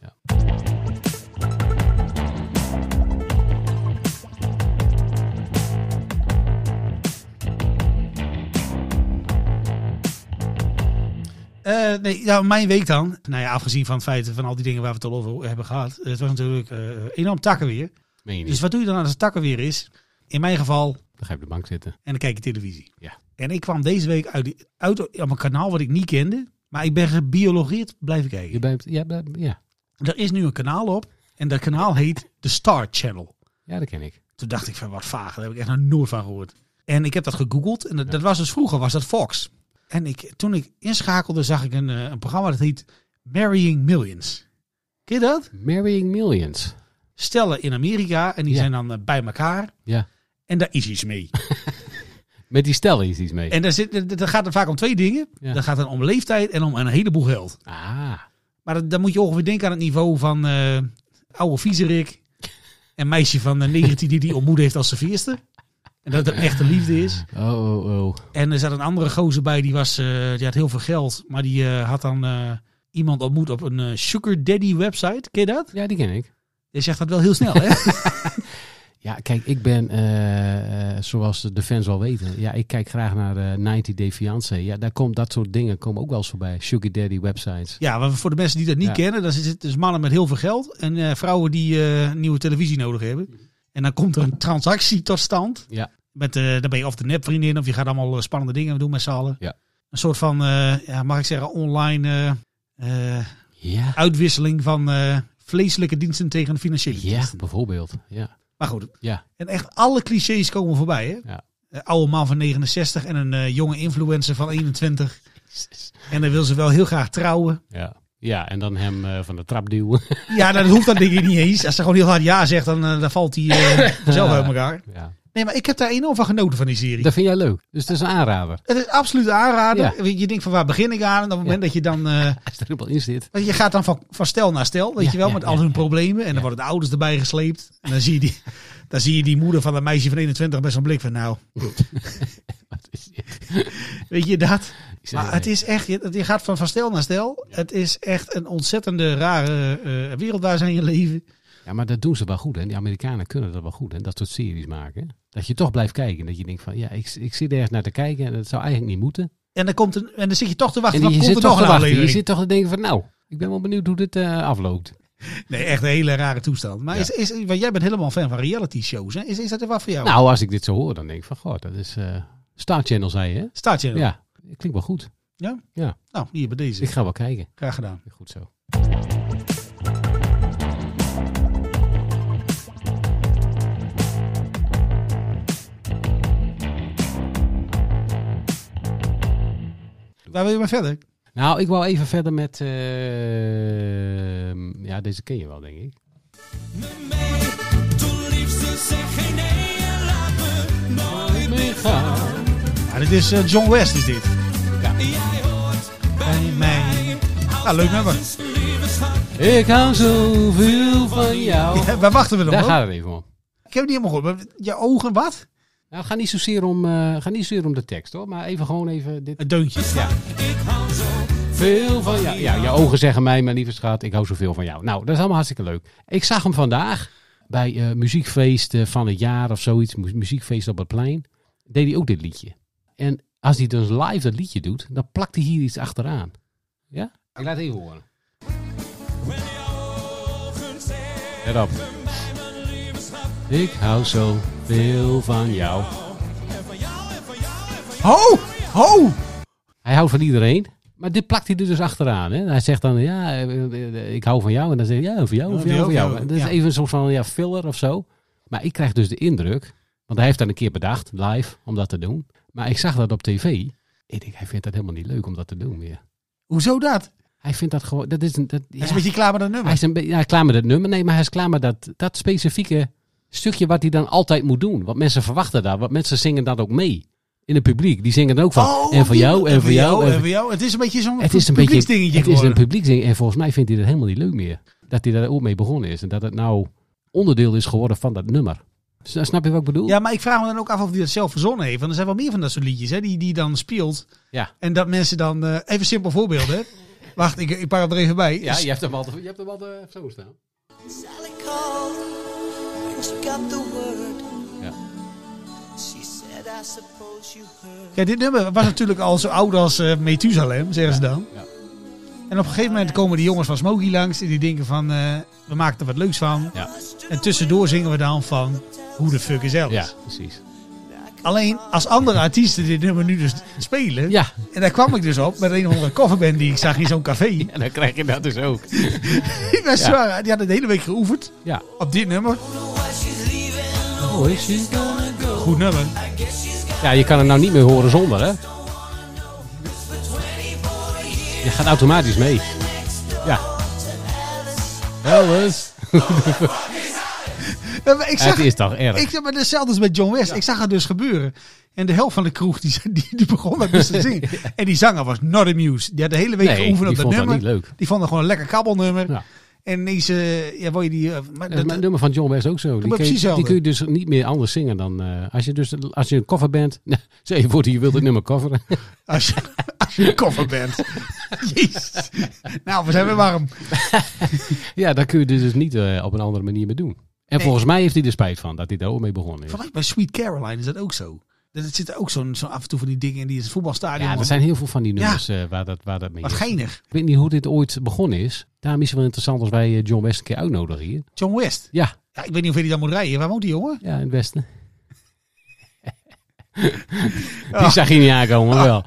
[SPEAKER 6] Eh, nee, ja, mijn week dan. Nou ja, afgezien van het feit van al die dingen waar we het al over hebben gehad. Het was natuurlijk eh, enorm takken weer.
[SPEAKER 1] Meen je niet.
[SPEAKER 6] Dus wat doe je dan als het takken weer is? In mijn geval,
[SPEAKER 1] Dan ga je op de bank zitten.
[SPEAKER 6] en dan kijk je televisie.
[SPEAKER 1] Ja.
[SPEAKER 6] En ik kwam deze week uit, die- uit op een kanaal wat ik niet kende. Maar ik ben gebiologeerd blijven kijken.
[SPEAKER 1] Je bent, ja, dat- ja.
[SPEAKER 6] Er is nu een kanaal op. En dat kanaal heet de Star Channel.
[SPEAKER 1] ja, dat ken ik.
[SPEAKER 6] Toen dacht ik van wat vaag. Daar heb ik echt nog nooit van gehoord. En ik heb dat gegoogeld. En dat, dat was dus vroeger was dat Fox. En ik, toen ik inschakelde zag ik een, eh, een programma dat heet Marrying Millions. Ken je dat?
[SPEAKER 1] Marrying Millions.
[SPEAKER 6] Stellen in Amerika. En die
[SPEAKER 1] Ja.
[SPEAKER 6] zijn dan eh, bij elkaar.
[SPEAKER 1] Ja.
[SPEAKER 6] En daar is
[SPEAKER 1] [LAUGHS]
[SPEAKER 6] iets mee.
[SPEAKER 1] Met die stel is iets mee.
[SPEAKER 6] En daar zit, dat- dat gaat er vaak om twee dingen.
[SPEAKER 1] Ja.
[SPEAKER 6] Dat gaat dan om leeftijd en om een heleboel geld.
[SPEAKER 1] Ah,
[SPEAKER 6] Maar dat- dan moet je ongeveer denken aan het niveau van eh, oude viezerik. Een meisje van eh, 19 die die ontmoet heeft als zijn vierste. En dat het echte liefde is.
[SPEAKER 1] oh, oh, oh.
[SPEAKER 6] En er zat een andere gozer bij, die, was, eh, die had heel veel geld. Maar die eh, had dan eh, iemand ontmoet op een eh, sugar daddy website. Ken je dat?
[SPEAKER 1] Ja, die ken ik.
[SPEAKER 6] Je zegt dat wel heel snel, hè?
[SPEAKER 1] Ja, kijk, ik ben, eh, eh, zoals de fans wel weten, ja, ik kijk graag naar eh 90 Day Fiancé. Ja, daar komt dat soort dingen komen ook wel eens voorbij. Sugar Daddy websites.
[SPEAKER 6] ja, maar voor de mensen die dat niet
[SPEAKER 1] Ja.
[SPEAKER 6] kennen. Dan zitten dus mannen met heel veel geld. En eh, vrouwen die eh, nieuwe televisie nodig hebben. En dan komt er een transactie tot stand.
[SPEAKER 1] Ja.
[SPEAKER 6] Met, eh, dan ben je of de nepvriendin of je gaat allemaal eh, spannende dingen doen met z'n allen.
[SPEAKER 1] Ja.
[SPEAKER 6] Een soort van, eh, ja, mag ik zeggen, online eh, eh,
[SPEAKER 1] Ja,
[SPEAKER 6] uitwisseling van eh vleeselijke diensten tegen financiële
[SPEAKER 1] ja
[SPEAKER 6] diensten.
[SPEAKER 1] bijvoorbeeld. Ja.
[SPEAKER 6] Maar goed,
[SPEAKER 1] Ja.
[SPEAKER 6] en echt alle clichés komen voorbij. Hè?
[SPEAKER 1] Ja.
[SPEAKER 6] Een oude man van 69 en een eh, jonge influencer van 21. En dan wil ze wel heel graag trouwen.
[SPEAKER 1] Ja. ja, en dan hem eh, van de trap duwen.
[SPEAKER 6] Ja, nou, dat hoeft dan denk ik niet eens. Als ze gewoon heel hard ja zegt, dan, eh, dan valt hij
[SPEAKER 1] [LAUGHS]
[SPEAKER 6] eh, zelf uit elkaar.
[SPEAKER 1] [LAUGHS] ja.
[SPEAKER 6] Nee, maar ik heb daar enorm van genoten van die serie.
[SPEAKER 1] Dat vind jij leuk. Dus dat is een aanrader.
[SPEAKER 6] Het is absoluut een aanrader. Je denkt van waar begin ik aan? En op het moment dat je dan... eh,
[SPEAKER 1] [LAUGHS] Als er helemaal in zit.
[SPEAKER 6] Want Je gaat dan van, van stel naar stel, weet
[SPEAKER 1] Ja,
[SPEAKER 6] je wel,
[SPEAKER 1] ja,
[SPEAKER 6] met
[SPEAKER 1] ja,
[SPEAKER 6] al hun
[SPEAKER 1] ja.
[SPEAKER 6] problemen. En dan worden de ouders erbij gesleept. En dan zie je die, [LAUGHS] dan zie je die moeder van dat meisje van 21 met zo'n blik van nou. [LAUGHS] weet je dat?
[SPEAKER 1] eh,
[SPEAKER 6] Maar het is echt, je, je gaat van, van stel naar stel. Het is echt een ontzettende rare eh, wereld waar zijn je leven.
[SPEAKER 1] Ja, maar dat doen ze wel goed. Hè? Die Amerikanen kunnen dat wel goed. Hè? Dat soort series maken. hè. Dat je toch blijft kijken. Dat je denkt van, ja, ik, ik zit ergens naar te kijken. En dat zou eigenlijk niet moeten.
[SPEAKER 6] En dan, komt een, en dan zit je toch te wachten.
[SPEAKER 1] En
[SPEAKER 6] dan
[SPEAKER 1] je
[SPEAKER 6] komt
[SPEAKER 1] zit
[SPEAKER 6] er
[SPEAKER 1] toch
[SPEAKER 6] nog
[SPEAKER 1] te
[SPEAKER 6] een
[SPEAKER 1] wachten. Je
[SPEAKER 6] aflevering.
[SPEAKER 1] zit toch te denken van, nou, ik ben wel benieuwd hoe dit eh, afloopt.
[SPEAKER 6] Nee, echt een hele rare toestand. Maar
[SPEAKER 1] Ja.
[SPEAKER 6] is, is, want jij bent helemaal fan van reality shows. Hè? Is, is dat er wat voor jou?
[SPEAKER 1] Nou, als ik dit zo hoor, dan denk ik van, god, dat is... eh Star Channel, zei je, hè?
[SPEAKER 6] Staat je er?
[SPEAKER 1] Ja, klinkt wel goed.
[SPEAKER 6] Nou, hier bij deze.
[SPEAKER 1] Ik ga wel kijken.
[SPEAKER 6] Graag gedaan.
[SPEAKER 1] Goed zo.
[SPEAKER 6] Waar wil je maar verder?
[SPEAKER 1] Nou, ik wou even verder met... eh, ja, deze ken je wel, denk ik.
[SPEAKER 6] Ja, dit is eh, John West, is dit. Bij mij. Nou, leuk nummer.
[SPEAKER 1] Ik hou zoveel van jou.
[SPEAKER 6] Ja, waar wachten we dan
[SPEAKER 1] Daar
[SPEAKER 6] op?
[SPEAKER 1] gaat het even om.
[SPEAKER 6] Ik heb het niet helemaal goed. maar Je ogen, wat?
[SPEAKER 1] Nou, ga niet zozeer om, eh, ga niet zozeer om de tekst hoor, maar even gewoon even dit.
[SPEAKER 6] Een deuntje. Ja.
[SPEAKER 1] Veel van jou. Ja, je ogen zeggen mij, mijn lieve schat, ik hou zoveel van jou. Nou, dat is allemaal hartstikke leuk. Ik zag hem vandaag bij eh, muziekfeest eh, van het jaar of zoiets, mu- muziekfeest op het plein. Deed hij ook dit liedje. En als hij dus live dat liedje doet, dan plakt hij hier iets achteraan. Ja? Ik laat het even horen. Let op. Ik hou zo veel van jou.
[SPEAKER 4] Nou,
[SPEAKER 6] Ho! Ho!
[SPEAKER 1] Hij houdt van iedereen. Maar dit plakt hij er dus achteraan. Hè? Hij zegt dan, ja, eh, eh, ik hou van jou. En dan zegt hij, ja, van jou, van jou, van jou. Dat is
[SPEAKER 6] Ja.
[SPEAKER 1] even een soort van ja, filler of zo. Maar ik krijg dus de indruk, want hij heeft dat een keer bedacht, live, om dat te doen. Maar ik zag dat op tv. Ik denk, hij vindt dat helemaal niet leuk om dat te doen meer.
[SPEAKER 6] Hoezo dat? Hij
[SPEAKER 1] Hij vindt dat gewoon, dat is een, dat,
[SPEAKER 6] is
[SPEAKER 1] ja.
[SPEAKER 6] een beetje klaar met dat nummer.
[SPEAKER 1] Hij is een beetje ja, klaar met het nummer. Nee, maar hij is klaar met dat, dat specifieke stukje wat hij dan altijd moet doen. Want mensen verwachten dat. Want mensen zingen dat ook mee. In het publiek. Die zingen dan ook van.
[SPEAKER 6] Oh,
[SPEAKER 1] en voor
[SPEAKER 6] die-
[SPEAKER 1] jou, en voor jou, en
[SPEAKER 6] en voor jou. Het is een beetje zo'n
[SPEAKER 1] het is een beetje
[SPEAKER 6] publieksdingetje
[SPEAKER 1] Het is een
[SPEAKER 6] geworden.
[SPEAKER 1] publieksding. En volgens mij vindt hij dat helemaal niet leuk meer. Dat hij daar ook mee begonnen is. En dat het nou onderdeel is geworden van dat nummer. S- Snap je wat ik bedoel?
[SPEAKER 6] Ja, maar ik vraag me dan ook af of hij dat zelf verzonnen heeft. Want er zijn wel meer van dat soort liedjes hè, die, die dan speelt.
[SPEAKER 1] Ja.
[SPEAKER 6] En dat mensen dan... eh, even een simpel voorbeeld, hè. Wacht, ik, ik pak hem er even bij. Dus
[SPEAKER 1] Ja, je hebt hem altijd, je hebt hem altijd zo staan.
[SPEAKER 7] Sally called and she got the word.
[SPEAKER 1] Ja.
[SPEAKER 7] She said, I suppose you heard.
[SPEAKER 6] Ja, dit nummer was natuurlijk al zo oud als eh, Methusalem, zeggen ze dan.
[SPEAKER 1] ja.
[SPEAKER 6] En op een gegeven moment komen die jongens van Smokey langs en die denken van, eh, we maken er wat leuks van.
[SPEAKER 1] Ja.
[SPEAKER 6] En tussendoor zingen we dan van, hoe de fuck is Alice?
[SPEAKER 1] ja, precies.
[SPEAKER 6] Alleen als andere artiesten dit nummer nu dus spelen.
[SPEAKER 1] Ja.
[SPEAKER 6] En daar kwam ik dus op met een of andere coverband die ik zag in zo'n café. [LAUGHS]
[SPEAKER 1] En dan krijg je dat dus ook.
[SPEAKER 6] Die, was zwaar, die hadden de hele week geoefend
[SPEAKER 1] Ja.
[SPEAKER 6] op dit nummer.
[SPEAKER 1] Oh, is hij?
[SPEAKER 6] Goed nummer.
[SPEAKER 1] Ja, je kan hem nou niet meer horen zonder, hè? Je gaat automatisch mee. Ja. Alles.
[SPEAKER 6] Ja, maar ik zag,
[SPEAKER 1] Het is toch erg.
[SPEAKER 6] Ik, maar hetzelfde als met John West. Ik zag het dus gebeuren. En de helft van de kroeg die, [LAUGHS] die, die begon met dus te
[SPEAKER 1] [LAUGHS]
[SPEAKER 6] zingen. En die zanger was not amused. Die had de hele week
[SPEAKER 1] Nee,
[SPEAKER 6] geoefend op
[SPEAKER 1] die
[SPEAKER 6] dat
[SPEAKER 1] vond dat
[SPEAKER 6] nummer.
[SPEAKER 1] niet leuk.
[SPEAKER 6] Die vond dat gewoon een lekker kabbelnummer.
[SPEAKER 1] Ja.
[SPEAKER 6] En ineens, eh, ja, word je die... eh, maar
[SPEAKER 1] Dat is
[SPEAKER 6] dat-
[SPEAKER 1] mijn nummer van John West ook zo. Die
[SPEAKER 6] maar
[SPEAKER 1] kun,
[SPEAKER 6] precies
[SPEAKER 1] je,
[SPEAKER 6] hetzelfde.
[SPEAKER 1] die kun je dus niet meer anders zingen dan... eh, als je dus als je een cover bent... [LAUGHS] Zeg je voor die je wilt het nummer coveren. [LAUGHS]
[SPEAKER 6] als, je, als je een koffer bent. Jezus. Nou, we zijn weer warm.
[SPEAKER 1] ja, dan kun je dit dus niet eh, op een andere manier meer doen. En volgens mij heeft hij er spijt van dat hij daar ook mee begonnen is.
[SPEAKER 6] Volgens mij bij Sweet Caroline is dat ook zo. Dat het zit ook zo'n zo'n af en toe van die dingen in die het voetbalstadion.
[SPEAKER 1] Ja, er zijn heel veel van die nummers eh, waar, dat, waar dat mee
[SPEAKER 6] Wat
[SPEAKER 1] is.
[SPEAKER 6] geinig.
[SPEAKER 1] Ik weet niet hoe dit ooit begonnen is. Daarom is het wel interessant als wij eh, John West een keer uitnodigen hier.
[SPEAKER 6] John West.
[SPEAKER 1] Ja,
[SPEAKER 6] Ja, ik weet niet of hij dan moet rijden. Waar woont die jongen?
[SPEAKER 1] Ja, in het westen. [LAUGHS] Die
[SPEAKER 6] Ah.
[SPEAKER 1] zag je niet aankomen, maar wel.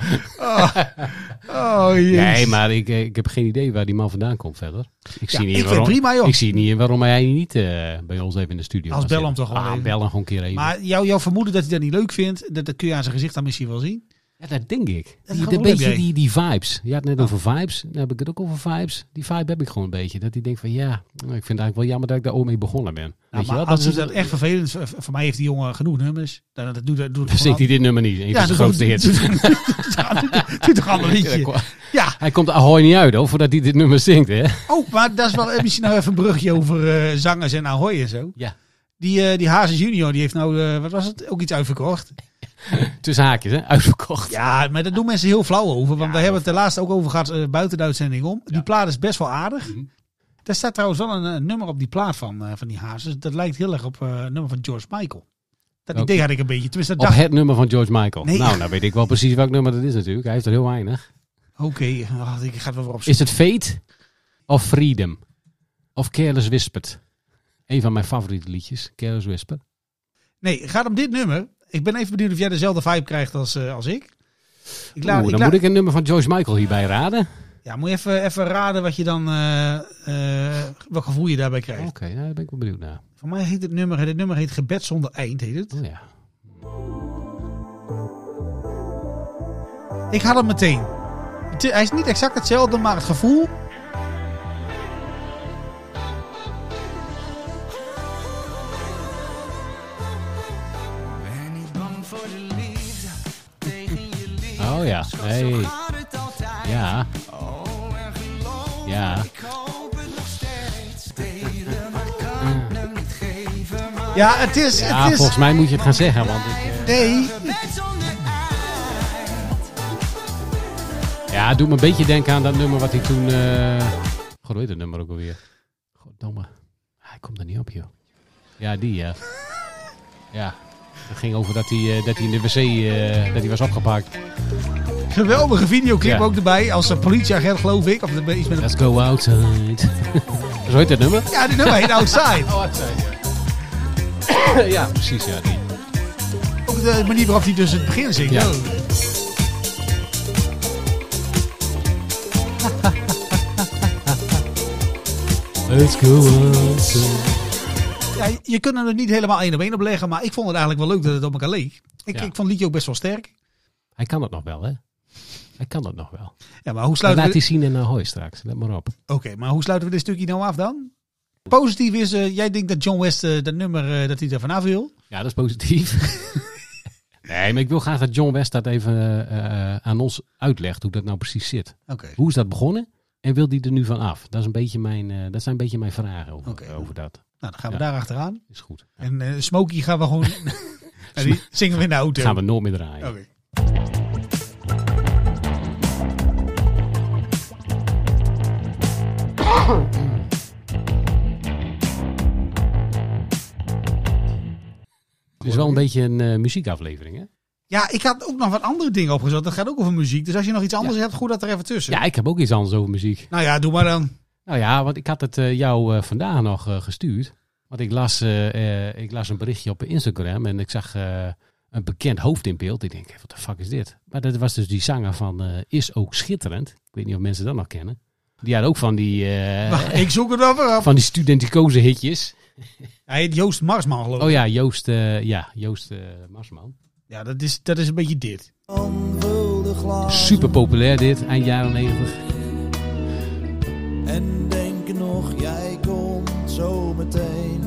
[SPEAKER 6] Oh, jezus.
[SPEAKER 1] Nee, maar ik, eh, ik heb geen idee waar die man vandaan komt verder. Ik
[SPEAKER 6] Ja,
[SPEAKER 1] zie niet
[SPEAKER 6] ik vind
[SPEAKER 1] waarom,
[SPEAKER 6] prima, joh.
[SPEAKER 1] Ik zie niet waarom hij niet eh, bij ons even in de studio
[SPEAKER 6] Als
[SPEAKER 1] was
[SPEAKER 6] bel hem
[SPEAKER 1] zitten.
[SPEAKER 6] toch gewoon
[SPEAKER 1] Ah,
[SPEAKER 6] even.
[SPEAKER 1] bel hem gewoon een keer even.
[SPEAKER 6] Maar jou, jouw vermoeden dat hij dat niet leuk vindt, dat, dat kun je aan zijn gezicht dan misschien wel zien.
[SPEAKER 1] ja, dat denk ik.
[SPEAKER 6] Dat
[SPEAKER 1] Die,
[SPEAKER 6] gevoel
[SPEAKER 1] een
[SPEAKER 6] heb
[SPEAKER 1] beetje
[SPEAKER 6] jij.
[SPEAKER 1] die, die vibes. Je had het net over vibes. Dan heb ik het ook over vibes. Die vibe heb ik gewoon een beetje. Dat hij denkt van ja, nou, ik vind het eigenlijk wel jammer dat ik daar ooit mee begonnen ben.
[SPEAKER 6] Nou,
[SPEAKER 1] Weet je
[SPEAKER 6] maar
[SPEAKER 1] wel?
[SPEAKER 6] als
[SPEAKER 1] Dat
[SPEAKER 6] hij
[SPEAKER 1] is
[SPEAKER 6] dat echt vervelend v- Voor mij heeft die jongen genoeg nummers. Dan, dat doet, dat doet
[SPEAKER 1] Dan zingt hij dit nummer niet. Een van zijn grootste hits.
[SPEAKER 6] Doet toch allemaal een liedje.
[SPEAKER 1] [LAUGHS] Ja,
[SPEAKER 6] Ja,
[SPEAKER 1] Hij komt Ahoy niet uit hoor, voordat hij dit nummer zingt hè.
[SPEAKER 6] ook, maar dat is wel eh, misschien nou even een brugje over eh, zangers en Ahoy en zo.
[SPEAKER 1] Ja.
[SPEAKER 6] Die, eh, die Hazen junior, die heeft nou, eh, wat was het, ook iets uitverkocht.
[SPEAKER 1] Tussen haakjes hè, uitverkocht.
[SPEAKER 6] Ja, maar daar doen mensen
[SPEAKER 1] Mhm.
[SPEAKER 6] heel flauw over. Want daar hebben we het de laatste ook over gehad eh, buiten de uitzending om. Die plaat is best wel aardig. Daar staat trouwens wel een, eh, nummer op die plaat van, eh, van die hazes. Dat lijkt heel erg op eh, een nummer van George Michael. Dat
[SPEAKER 1] Welke?
[SPEAKER 6] idee had ik een beetje. Tenminste, dat
[SPEAKER 1] Op
[SPEAKER 6] dacht
[SPEAKER 1] het nummer van George Michael.
[SPEAKER 6] Nee.
[SPEAKER 1] Nou, nou weet ik wel precies welk nummer dat is natuurlijk. Hij heeft er heel weinig.
[SPEAKER 6] Oké, ah, ik ga het wel weer opzoeken.
[SPEAKER 1] Is het Fate of Freedom? Of Careless Whispered? Een van mijn favoriete liedjes, Careless Whisper.
[SPEAKER 6] Nee, het gaat om dit nummer. Ik ben even benieuwd of jij dezelfde vibe krijgt als, eh, als ik. Ik laat,
[SPEAKER 1] Oeh,
[SPEAKER 6] ik
[SPEAKER 1] dan
[SPEAKER 6] laat-
[SPEAKER 1] moet ik een nummer van George Michael hierbij raden.
[SPEAKER 6] Ja, moet je even, even raden wat je dan, eh, eh, wat gevoel je daarbij
[SPEAKER 1] Oké,
[SPEAKER 6] krijgt.
[SPEAKER 1] nou, daar ben ik wel benieuwd naar.
[SPEAKER 6] Voor mij heet het nummer, dit nummer heet Gebed zonder eind, heet het.
[SPEAKER 1] Oh, ja.
[SPEAKER 6] Ik had hem meteen. Het- hij is niet exact hetzelfde, maar het gevoel.
[SPEAKER 1] Oh ja, hey. Ja. Ja.
[SPEAKER 6] Ja, het is,
[SPEAKER 1] Ja,
[SPEAKER 6] het is,
[SPEAKER 1] volgens mij moet je het gaan zeggen, want ik, eh,
[SPEAKER 6] nee.
[SPEAKER 1] ja, het doet me een beetje denken aan dat nummer wat hij toen... eh God, hoe heet dat nummer ook alweer? Goddomme. Ah, Hij komt er niet op, joh. Ja, die, ja. Ja. Het ging over dat hij, eh, dat hij in de wc eh, dat hij was opgepakt.
[SPEAKER 6] Geweldige videoclip
[SPEAKER 1] Ja.
[SPEAKER 6] ook erbij. Als een politieagent, geloof ik. Of iets met een...
[SPEAKER 1] Let's go outside. [LAUGHS] Zo heet dat nummer?
[SPEAKER 6] Ja, dit nummer heet Outside.
[SPEAKER 1] [LAUGHS] ja, precies, ja. Die.
[SPEAKER 6] Ook de manier waarop hij dus het begin zingt.
[SPEAKER 1] Ja.
[SPEAKER 6] Oh.
[SPEAKER 1] Let's go outside.
[SPEAKER 6] Ja, je kunt hem er niet helemaal één op één op leggen, maar ik vond het eigenlijk wel leuk dat het op elkaar leek.
[SPEAKER 1] Ja.
[SPEAKER 6] Ik, ik vond het liedje ook best wel sterk.
[SPEAKER 1] Hij kan dat nog wel, hè? Hij kan dat nog wel.
[SPEAKER 6] Ja, maar hoe
[SPEAKER 1] Dat
[SPEAKER 6] sluiten
[SPEAKER 1] laat
[SPEAKER 6] we...
[SPEAKER 1] hij zien in Ahoy straks. Let maar op.
[SPEAKER 6] Oké, maar hoe sluiten we dit stukje nou af dan? Positief is, eh, jij denkt dat John West eh, dat nummer, eh, dat hij er vanaf wil.
[SPEAKER 1] Ja, dat is positief. [LAUGHS] nee, maar ik wil graag dat John West dat even eh, eh, aan ons uitlegt hoe dat nou precies zit.
[SPEAKER 6] Oké.
[SPEAKER 1] Hoe is dat begonnen en wil die er nu van af? Dat, is een beetje mijn, eh, dat zijn een beetje mijn vragen over,
[SPEAKER 6] Oké.
[SPEAKER 1] over dat.
[SPEAKER 6] Nou, dan gaan we
[SPEAKER 1] Ja.
[SPEAKER 6] daar achteraan.
[SPEAKER 1] Is goed.
[SPEAKER 6] En eh Smokey gaan we
[SPEAKER 1] [LAUGHS]
[SPEAKER 6] gewoon... nou, die zingen we in de auto.
[SPEAKER 1] Gaan we nooit meer draaien.
[SPEAKER 6] Oké.
[SPEAKER 1] Het is wel een beetje een eh, muziekaflevering, hè?
[SPEAKER 6] Ja, ik had ook nog wat andere dingen opgezocht. Dat gaat ook over muziek. Dus als je nog iets anders hebt, goed dat er even tussen.
[SPEAKER 1] Ja, ik heb ook iets anders over muziek.
[SPEAKER 6] Nou ja, doe maar dan.
[SPEAKER 1] Nou ja, want ik had het eh, jou eh, vandaag nog eh, gestuurd. Want ik las, eh, eh, ik las een berichtje op Instagram en ik zag eh, een bekend hoofd in beeld. Ik denk, wat de fuck is dit? Maar dat was dus die zanger van eh, Is ook schitterend. Ik weet niet of mensen dat nog kennen. Die had ook van die, eh,
[SPEAKER 6] Wacht, [LAUGHS] ik zoek het wel weer op.
[SPEAKER 1] van die studenticoze hitjes.
[SPEAKER 6] Hij heet Joost Marsman, geloof ik.
[SPEAKER 1] Oh ja, Joost, eh, ja, Joost eh, Marsman.
[SPEAKER 6] Ja, dat is, dat is een beetje dit.
[SPEAKER 7] Onvul de glas
[SPEAKER 1] Super populair dit, eind jaren negentig.
[SPEAKER 7] en denk nog, jij komt zo meteen.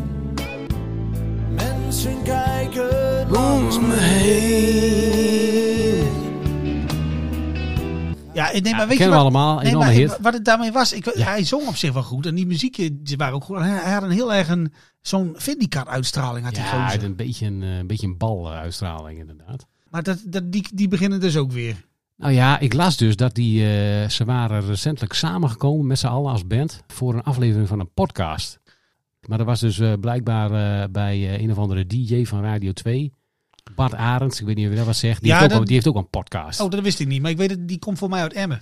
[SPEAKER 7] Mensen kijken langs me heen.
[SPEAKER 6] Ja, ik- nee, maar
[SPEAKER 1] Ja,
[SPEAKER 6] weet
[SPEAKER 1] kennen we
[SPEAKER 6] je wat,
[SPEAKER 1] allemaal,
[SPEAKER 6] nee,
[SPEAKER 1] enorme
[SPEAKER 6] maar
[SPEAKER 1] hit.
[SPEAKER 6] Wat het daarmee was, ik,
[SPEAKER 1] Ja.
[SPEAKER 6] hij zong op zich wel goed. En die muziekje die waren ook goed. En Hij, hij had een heel erg een, zo'n Vindicat-uitstraling. Had die
[SPEAKER 1] Ja, hij had
[SPEAKER 6] gozer.
[SPEAKER 1] een beetje een, eh, een, beetje een baluitstraling inderdaad.
[SPEAKER 6] Maar dat, dat, die, die beginnen dus ook weer.
[SPEAKER 1] Nou ja, ik las dus dat die, eh, ze waren recentelijk samengekomen met z'n allen als band voor een aflevering van een podcast. Maar er was dus eh, blijkbaar eh, bij eh, een of andere DJ van Radio 2, Bart Arends, ik weet niet of je dat wat zegt, die,
[SPEAKER 6] Ja,
[SPEAKER 1] heeft, ook,
[SPEAKER 6] dat-
[SPEAKER 1] al- die heeft ook een podcast.
[SPEAKER 6] Oh, dat wist ik niet. Maar ik weet het, die komt voor mij uit Emmen.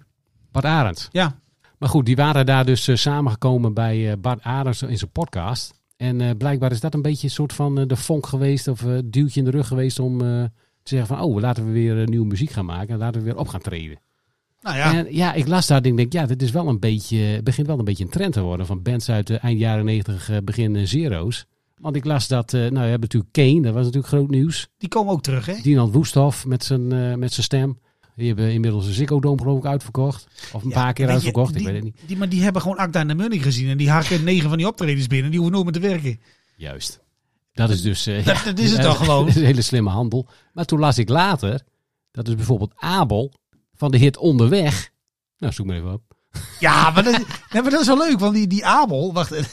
[SPEAKER 1] Bart Arends.
[SPEAKER 6] Ja.
[SPEAKER 1] Maar goed, die waren daar dus eh, samengekomen bij eh, Bart Arends in zijn podcast. En eh, blijkbaar is dat een beetje een soort van eh, de vonk geweest of eh duwtje in de rug geweest om eh, te zeggen van oh, laten we weer eh, nieuwe muziek gaan maken en laten we weer op gaan treden.
[SPEAKER 6] Nou ja,
[SPEAKER 1] En ja, ik las daar en ik denk, ja, dit is wel een beetje, het begint wel een beetje een trend te worden van bands uit de eind jaren 90, eh, begin eh, zero's. Want ik las dat, eh, nou, we hebben natuurlijk Kane, dat was natuurlijk groot nieuws.
[SPEAKER 6] die komen ook terug, hè?
[SPEAKER 1] Dinant Woesthof met zijn, eh, met zijn stem. Die hebben inmiddels een Ziggo Dome geloof ik uitverkocht. Of een
[SPEAKER 6] Ja,
[SPEAKER 1] paar keer
[SPEAKER 6] weet je,
[SPEAKER 1] uitverkocht,
[SPEAKER 6] die-
[SPEAKER 1] ik weet het niet.
[SPEAKER 6] Die, maar die hebben gewoon Acta en de Munnik gezien. En die haken negen van die optredens binnen. Die hoeven nooit meer te werken.
[SPEAKER 1] Juist. Dat is dus... eh,
[SPEAKER 6] [LAUGHS] Dat-
[SPEAKER 1] ja,
[SPEAKER 6] dat is het dan gewoon.
[SPEAKER 1] dat is [LAUGHS] een hele slimme handel. Maar toen las ik later, dat is bijvoorbeeld Abel van de hit Onderweg. Nou, zoek maar even op.
[SPEAKER 6] Ja, maar dat, nee, maar dat is [LAUGHS] wel leuk. Want die, die Abel, wacht. als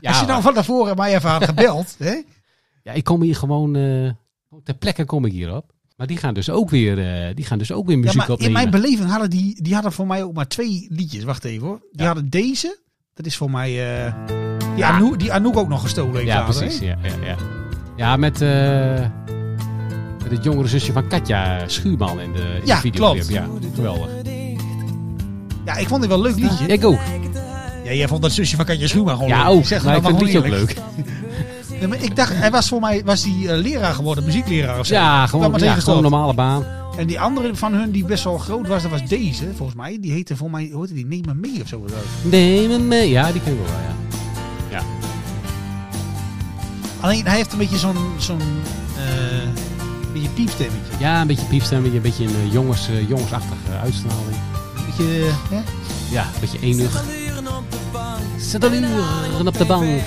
[SPEAKER 6] je
[SPEAKER 1] maar-
[SPEAKER 6] nou van daarvoor mij even had gebeld,
[SPEAKER 1] [LAUGHS]
[SPEAKER 6] hè?
[SPEAKER 1] Ja, ik kom hier gewoon. eh ter plekke kom ik hier op. Maar die gaan dus ook weer, eh, die gaan dus ook weer muziek
[SPEAKER 6] ja, maar
[SPEAKER 1] opnemen.
[SPEAKER 6] In mijn beleving hadden die, die hadden voor mij ook maar twee liedjes. Wacht even hoor. Die hadden deze Dat is voor mij... eh, die, Anouk, die Anouk ook nog gestolen heeft
[SPEAKER 1] Ja,
[SPEAKER 6] later,
[SPEAKER 1] precies.
[SPEAKER 6] hè?
[SPEAKER 1] Ja, ja, ja. ja met, eh, met het jongere zusje van Katja Schuurman in de, in
[SPEAKER 6] Ja,
[SPEAKER 1] de videoclip.
[SPEAKER 6] klopt.
[SPEAKER 1] Ja, geweldig.
[SPEAKER 6] Ja, ik vond dit wel een leuk liedje.
[SPEAKER 1] Ik ook.
[SPEAKER 6] Ja, jij vond dat zusje van Katja Schuurman gewoon
[SPEAKER 1] Ja,
[SPEAKER 6] leuk.
[SPEAKER 1] ook.
[SPEAKER 6] Zeg
[SPEAKER 1] maar ik
[SPEAKER 6] dat
[SPEAKER 1] vind het
[SPEAKER 6] maar
[SPEAKER 1] liedje ook
[SPEAKER 6] gewoon
[SPEAKER 1] leuk.
[SPEAKER 6] eerlijk. Nee, maar ik dacht, hij was voor mij was die eh, leraar geworden, muziekleraar of zo.
[SPEAKER 1] Ja,
[SPEAKER 6] Ik kwam
[SPEAKER 1] gewoon,
[SPEAKER 6] maar
[SPEAKER 1] ja,
[SPEAKER 6] tegen
[SPEAKER 1] gewoon een
[SPEAKER 6] dat.
[SPEAKER 1] normale baan.
[SPEAKER 6] En die andere van hun die best wel groot was, dat was deze, volgens mij. Die heette volgens mij, hoe heette die? Neem me mee of zo. was dat.
[SPEAKER 1] Neem me mee. Ja, die ken ik wel, ja.
[SPEAKER 6] Alleen hij heeft een beetje zo'n zo'n eh, beetje piepstemmetje.
[SPEAKER 1] Ja, een beetje piepstemmetje, een beetje een eh, jongens, eh, jongensachtige uitstraling.
[SPEAKER 6] Een beetje, eh, hè?
[SPEAKER 1] Ja, een beetje enig. Zet al uren op de bank. Maar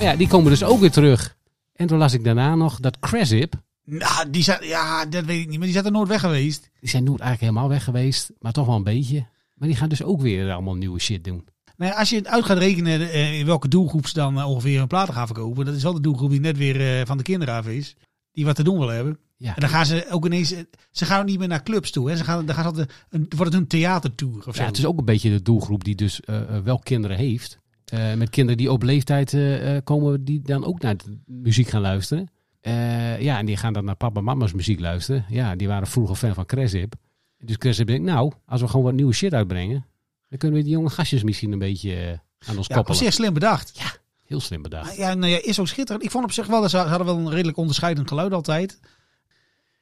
[SPEAKER 1] Ja, die komen dus ook weer terug. En toen las ik daarna nog dat Crasip,
[SPEAKER 6] Nou, die zat, ja, dat weet ik niet, maar die zat er nooit weg geweest.
[SPEAKER 1] die zijn nooit eigenlijk helemaal weg geweest, maar toch wel een beetje. Maar die gaan dus ook weer allemaal nieuwe shit doen.
[SPEAKER 6] Nou ja, als je het uit gaat rekenen eh, in welke doelgroep ze dan eh, ongeveer hun platen gaan verkopen, dat is wel de doelgroep die net weer eh, van de kinderen af is, die wat te doen wil hebben.
[SPEAKER 1] Ja,
[SPEAKER 6] En dan gaan ze ook ineens, eh, ze gaan ook niet meer naar clubs toe, hè. Ze gaan, dan gaan ze altijd, een, wordt het een theatertour of zo.
[SPEAKER 1] ja het is ook een beetje de doelgroep die dus eh, eh, wel kinderen heeft. Eh, met kinderen die op leeftijd eh, eh, komen, die dan ook naar de muziek gaan luisteren. Eh, ja, en die gaan dan naar papa en mama's muziek luisteren. Ja, die waren vroeger fan van Crasip. Dus Crasip denkt, nou, als we gewoon wat nieuwe shit uitbrengen, dan kunnen we die jonge gastjes misschien een beetje eh, aan ons
[SPEAKER 6] ja, op
[SPEAKER 1] koppelen.
[SPEAKER 6] zich slim bedacht.
[SPEAKER 1] Heel slim bedacht.
[SPEAKER 6] Ja, nou ja, is ook schitterend. Ik vond op zich wel, dat ze ze hadden wel een redelijk onderscheidend geluid altijd.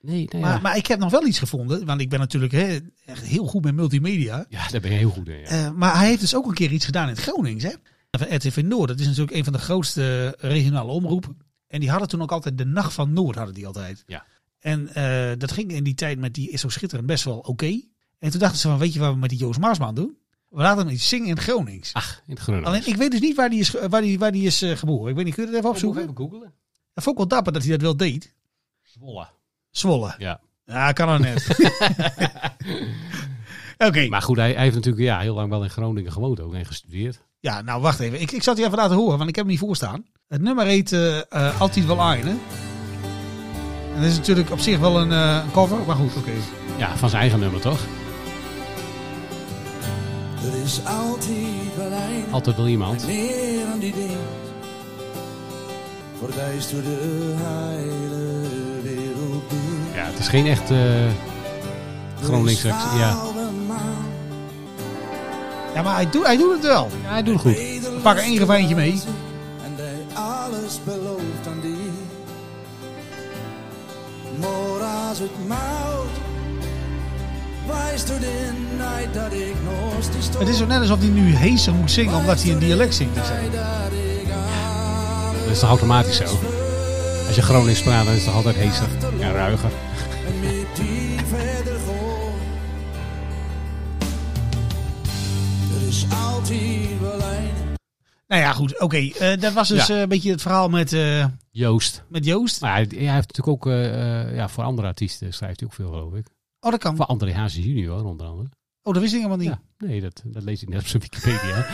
[SPEAKER 1] Nee, nou ja.
[SPEAKER 6] Maar, maar ik heb nog wel iets gevonden, want ik ben natuurlijk hè, echt heel goed met multimedia.
[SPEAKER 1] ja, daar ben je heel goed in. Ja.
[SPEAKER 6] Eh, maar hij heeft dus ook een keer iets gedaan in het Gronings, hè? Van RTV Noord, dat is natuurlijk een van de grootste eh, regionale omroepen. En die hadden toen ook altijd de Nacht van Noord, hadden die altijd.
[SPEAKER 1] Ja.
[SPEAKER 6] En eh, dat ging in die tijd met die Is Zo Schitterend best wel oké. En toen dachten ze van, weet je wat we met die Joost Maasman doen? We laten hem iets zingen in het Gronings.
[SPEAKER 1] Ach, in het groene.
[SPEAKER 6] Alleen ik weet dus niet waar die is, ge- waar die, waar die is eh, geboren. Ik weet niet, kun je dat even opzoeken?
[SPEAKER 1] Oh, Even googelen.
[SPEAKER 6] Dat vond ik wel dapper dat hij dat wel deed.
[SPEAKER 1] Zwolle.
[SPEAKER 6] Zwolle.
[SPEAKER 1] Ja.
[SPEAKER 6] Ja, kan ook net. [LAUGHS] Oké,
[SPEAKER 1] Maar goed, hij, hij heeft natuurlijk ja, heel lang wel in Groningen gewoond ook en gestudeerd.
[SPEAKER 6] ja, nou wacht even. Ik, ik zal die even laten horen, want ik heb hem niet voorstaan. Het nummer heet eh, eh, Altijd Wel Ein, hè? En dat is natuurlijk op zich wel een eh, een cover, maar goed, oké.
[SPEAKER 1] Ja, van zijn eigen nummer toch?
[SPEAKER 4] Er is altijd wel een
[SPEAKER 1] Altijd wel iemand.
[SPEAKER 4] meer aan die ding. Verwijst door de hele wereld door.
[SPEAKER 1] Ja, het is geen echt eh Gronings. Ja.
[SPEAKER 6] Ja, maar hij, doet hij doet het wel.
[SPEAKER 1] ja, hij doet het goed.
[SPEAKER 6] We pakken één refreintje mee.
[SPEAKER 4] En hij alles belooft aan die. Maar als het mout, wijst door de night dat ik nog steeds
[SPEAKER 6] Het is zo net alsof hij nu heeser moet zingen, omdat hij een dialect zingt. Dus, eh, of zo.
[SPEAKER 1] Dat is toch automatisch zo? Als je Gronings praat, dan is het toch altijd heeser en ruiger.
[SPEAKER 4] met die verder gooi. Er is altijd wel een
[SPEAKER 6] Nou ja, goed, oké. eh, dat was dus
[SPEAKER 1] Ja.
[SPEAKER 6] eh, een beetje het verhaal met, eh,
[SPEAKER 1] Joost.
[SPEAKER 6] met Joost.
[SPEAKER 1] Maar hij, hij heeft natuurlijk ook eh, eh, ja, voor andere artiesten schrijft hij ook veel, geloof ik.
[SPEAKER 6] Oh, dat kan.
[SPEAKER 1] Voor André Hazes junior, onder andere.
[SPEAKER 6] Oh, dat wist ik helemaal niet.
[SPEAKER 1] Ja, nee, dat, dat lees ik net op zijn
[SPEAKER 6] [LAUGHS]
[SPEAKER 1] Wikipedia.